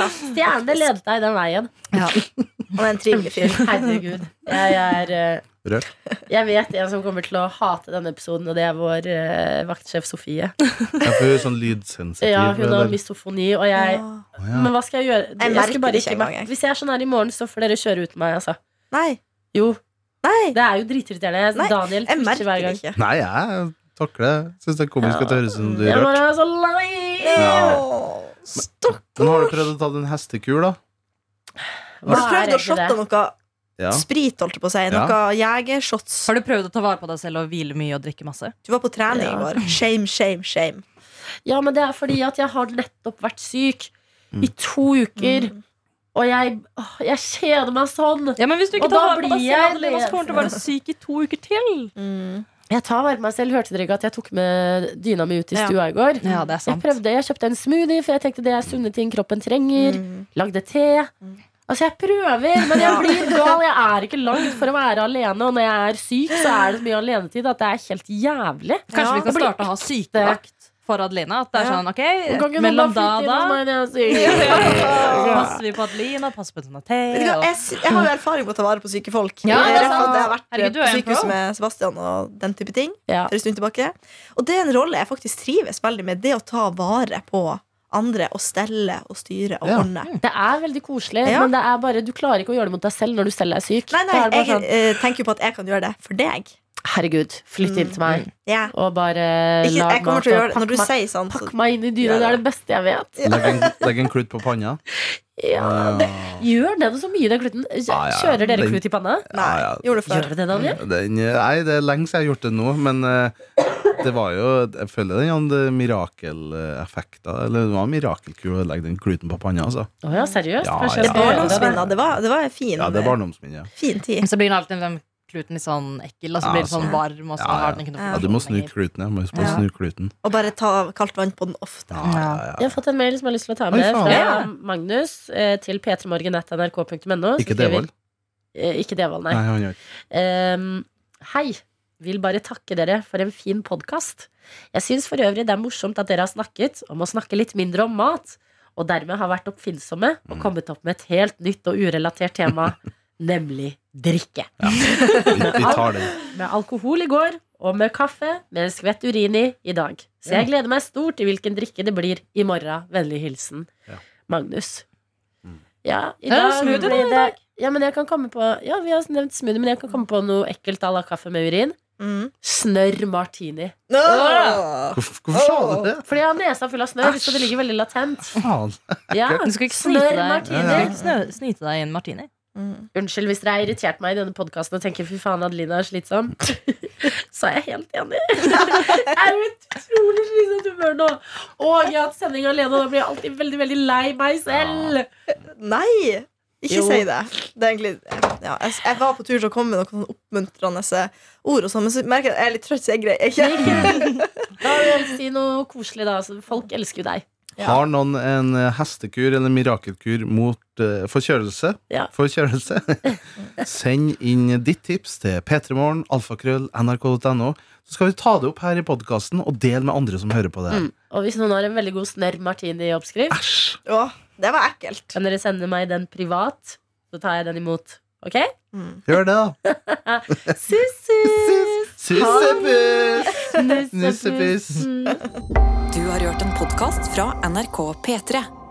Speaker 5: eh, *laughs*
Speaker 2: Stjernene ledet deg den veien.
Speaker 4: Han er en trivelig fyr.
Speaker 2: Herregud. Jeg er eh,
Speaker 3: Rørt.
Speaker 2: *laughs* Jeg vet en som kommer til å hate denne episoden, og det er vår eh, vaktsjef Sofie.
Speaker 3: Ja, for hun er sånn lydsensitiv.
Speaker 2: Ja, hun har
Speaker 3: eller-
Speaker 2: misofoni, og jeg
Speaker 4: Ja.
Speaker 3: Å, ja.
Speaker 2: Men hva skal jeg gjøre?
Speaker 4: Jeg
Speaker 2: Jeg
Speaker 4: merker
Speaker 2: skal bare
Speaker 4: det ikke
Speaker 2: ikke
Speaker 4: engang, jeg.
Speaker 2: Hvis jeg er sånn her i morgen, så får dere kjøre uten meg, altså.
Speaker 4: Nei.
Speaker 2: Jo,
Speaker 4: Nei,
Speaker 2: det er jo dritirriterende.
Speaker 4: Nei,
Speaker 2: Daniel
Speaker 4: jeg
Speaker 2: twitcher
Speaker 4: merker
Speaker 2: hver
Speaker 4: det
Speaker 2: gang.
Speaker 4: ikke.
Speaker 3: Nei, jeg takler det. Syns det er komisk at det høres ut som du er
Speaker 2: Jeg
Speaker 3: rørt.
Speaker 2: bare er så lei!
Speaker 3: Ja.
Speaker 4: Åh, Stopp!
Speaker 3: Men har du prøvd å ta den hestekur, da?
Speaker 4: Har du
Speaker 2: Hva er
Speaker 4: prøvd å
Speaker 2: egentlig
Speaker 4: shotte
Speaker 2: det?
Speaker 4: noe
Speaker 3: Ja.
Speaker 4: sprit, holdt jeg på å si?
Speaker 3: Ja.
Speaker 4: Noe jegershots?
Speaker 5: har du prøvd å ta vare på deg selv og hvile mye og drikke masse?
Speaker 4: Du var på trening
Speaker 2: Ja.
Speaker 4: i går. Shame, shame, shame.
Speaker 2: Ja, men det er fordi at jeg har nettopp vært syk i to uker,
Speaker 5: Mm.
Speaker 2: og jeg, åh, jeg kjeder meg sånn.
Speaker 5: Ja, men Hvis du ikke
Speaker 2: Og da
Speaker 5: tar vare på deg
Speaker 2: blir jeg
Speaker 5: selv, Adelina, så kommer du til å
Speaker 2: levende.
Speaker 5: være syk i to uker til.
Speaker 4: Mm.
Speaker 2: Jeg tar vare på meg selv. Hørte dere ikke at jeg tok med dyna mi ut i
Speaker 4: Ja.
Speaker 2: stua i går?
Speaker 5: Ja, det
Speaker 2: Jeg
Speaker 5: er sant.
Speaker 2: prøvde, jeg kjøpte en smoothie, for jeg tenkte det er sunne ting kroppen trenger.
Speaker 5: Mm.
Speaker 2: Lagde te. Altså, jeg prøver,
Speaker 5: *laughs*
Speaker 2: men jeg
Speaker 4: Ja.
Speaker 2: blir gal. Jeg er ikke langt for å være alene, og når jeg er syk, så er det så mye alenetid at det er helt jævlig.
Speaker 5: Kanskje vi
Speaker 2: Det
Speaker 5: skal
Speaker 2: blir
Speaker 5: starte å ha sykevakt for Adelina? At det er
Speaker 4: Ja.
Speaker 2: Kan
Speaker 5: sånn, ok,
Speaker 2: ikke noen
Speaker 5: Mellom da
Speaker 2: bare flytte
Speaker 5: og da
Speaker 2: inn hos meg når jeg
Speaker 5: *laughs*
Speaker 2: er syk?
Speaker 5: passer vi på Adelina, passer på Tonate.
Speaker 4: Vet du hva,
Speaker 5: og-
Speaker 4: jeg, s- jeg har jo erfaring med å ta vare på syke folk.
Speaker 5: Ja,
Speaker 4: jeg,
Speaker 5: det er
Speaker 4: rett og slett
Speaker 5: sant.
Speaker 4: jeg har vært eh,
Speaker 5: Herregud, du
Speaker 4: på
Speaker 5: er en
Speaker 4: sykehus
Speaker 5: pro.
Speaker 4: med Sebastian og den type ting.
Speaker 2: Ja.
Speaker 4: For en stund tilbake Og det er en rolle jeg faktisk trives veldig med. Det å ta vare på andre og stelle og styre og
Speaker 3: Ja. Mm.
Speaker 4: ordne.
Speaker 2: Det er veldig koselig,
Speaker 4: Ja.
Speaker 2: men det er bare, du klarer ikke å gjøre det mot deg selv når du selv er syk.
Speaker 4: Nei, nei,
Speaker 2: Da er det bare
Speaker 4: jeg
Speaker 2: sånn,
Speaker 4: eh, tenker jo på at jeg kan gjøre det for deg.
Speaker 2: Herregud, flytt inn til meg
Speaker 4: Ja.
Speaker 2: og bare
Speaker 4: Mm, Ikke,
Speaker 2: lag
Speaker 4: jeg kommer til å
Speaker 2: og
Speaker 4: gjøre det
Speaker 2: pakk
Speaker 4: når du
Speaker 2: meg-
Speaker 4: sier sånn. Så,
Speaker 2: Pakk meg inn i dyna,
Speaker 4: Ja.
Speaker 2: det er det beste jeg vet.
Speaker 3: Legg en, legg en klut på panna?
Speaker 2: Ja, det, gjør den så mye, den kluten.
Speaker 3: Ja, ja.
Speaker 2: Kjører dere
Speaker 3: Den-
Speaker 2: klut i panna?
Speaker 3: Ja,
Speaker 4: nei,
Speaker 3: ja.
Speaker 4: gjorde det
Speaker 2: Gjør
Speaker 4: før.
Speaker 2: dere det, Daniel?
Speaker 3: Den, nei, det er lenge siden jeg har gjort det nå, men eh, det var jo Jeg føler den hadde mirakeleffekter. Eller det var en mirakelkur å legge den kluten på panna, altså.
Speaker 2: Å ja, seriøst?
Speaker 3: Ja,
Speaker 2: Kanskje jeg
Speaker 3: ja.
Speaker 4: Det
Speaker 2: skal gjøre det.
Speaker 4: barndomsminner. Det var, det var en fin, eh,
Speaker 3: Ja, det er barndomsminnet. Ja.
Speaker 4: fin tid.
Speaker 5: Men Så blir den alltid den kluten litt sånn ekkel, og så
Speaker 3: Ja,
Speaker 5: blir den
Speaker 3: sånn.
Speaker 5: sånn varm. Og så
Speaker 3: Ja, ja.
Speaker 5: har den ikke noe
Speaker 3: ja, du må snu
Speaker 5: funksjon lenger.
Speaker 3: kluten. Ja. Må huske på
Speaker 5: Ja.
Speaker 3: å snu kluten.
Speaker 4: Og bare ta kaldt vann på den ofte.
Speaker 3: Ja, ja, ja.
Speaker 2: Jeg har fått en mail som jeg har lyst til å ta
Speaker 3: Oi,
Speaker 2: med
Speaker 3: faen.
Speaker 2: fra
Speaker 5: Ja.
Speaker 2: Magnus eh, til p3morgen.nrk.no.
Speaker 3: Ikke Devold?
Speaker 2: Eh, Ikke Devold, nei.
Speaker 3: Nei, han gjør ikke
Speaker 2: Ehm, hei. Vil bare takke dere for en fin podkast. Jeg syns for øvrig det er morsomt at dere har snakket om å snakke litt mindre om mat, og dermed har vært oppfinnsomme og kommet opp med et helt nytt og urelatert tema, nemlig drikke.
Speaker 3: Vi, vi tar den.
Speaker 2: Med alkohol i går og med kaffe med en skvett urin i i dag. Så jeg gleder meg stort til hvilken drikke det blir i morgen. Vennlig hilsen
Speaker 3: Ja.
Speaker 2: Magnus. Ja, i
Speaker 5: Ja,
Speaker 2: dag
Speaker 5: smoothie da,
Speaker 2: blir
Speaker 5: i
Speaker 2: det Ja, men jeg kan komme på Ja, vi har nevnt smoothie, men jeg kan komme på noe ekkelt à la kaffe med urin.
Speaker 4: Mm.
Speaker 2: Snørr martini.
Speaker 4: Åh!
Speaker 3: Hvorfor, hvorfor sa du det?
Speaker 2: Fordi jeg har nesa full av snørr, så det ligger veldig latent.
Speaker 3: Faen.
Speaker 2: Ja,
Speaker 5: Du skal ikke snyte
Speaker 2: Snørr
Speaker 5: deg,
Speaker 2: martini.
Speaker 5: Du skal ikke snø- snyte deg i en martini.
Speaker 4: Mm.
Speaker 2: Unnskyld hvis dere har irritert meg i denne podkasten og tenker fy faen, Adelina er slitsom. *laughs* Så er jeg helt enig. *laughs* Jeg er jo et utrolig slitsomt humør nå. Og jeg har hatt sending alene, og da blir jeg alltid veldig veldig lei meg selv.
Speaker 4: Nei! Ikke
Speaker 2: Jo.
Speaker 4: si det. det er egentlig, ja, jeg, jeg var på tur til å komme med noen sånn oppmuntrende ord, og sånn, men så merker jeg at jeg er litt trøtt, så jeg greier ikke.
Speaker 2: Da vil jeg Si noe koselig, da. Så folk elsker jo deg.
Speaker 3: Har noen en eh, hestekur eller mirakelkur mot eh, forkjølelse?
Speaker 2: Ja.
Speaker 3: Forkjølelse? Send inn ditt tips til p3morgen, alfakrøll, nrk.no. Så skal vi ta det opp her i podkasten og dele med andre som hører på det. her.
Speaker 2: Og hvis noen har en veldig god snørr martini-oppskrift,
Speaker 3: Æsj!
Speaker 4: Åh, det var ekkelt.
Speaker 2: kan dere sende meg den privat, så tar jeg den imot. Ok?
Speaker 3: Gjør det, da.
Speaker 2: Sussus!
Speaker 3: Sussebuss! Nussebuss.
Speaker 2: Nussebuss!
Speaker 1: Du har hørt en podkast fra NRK P3.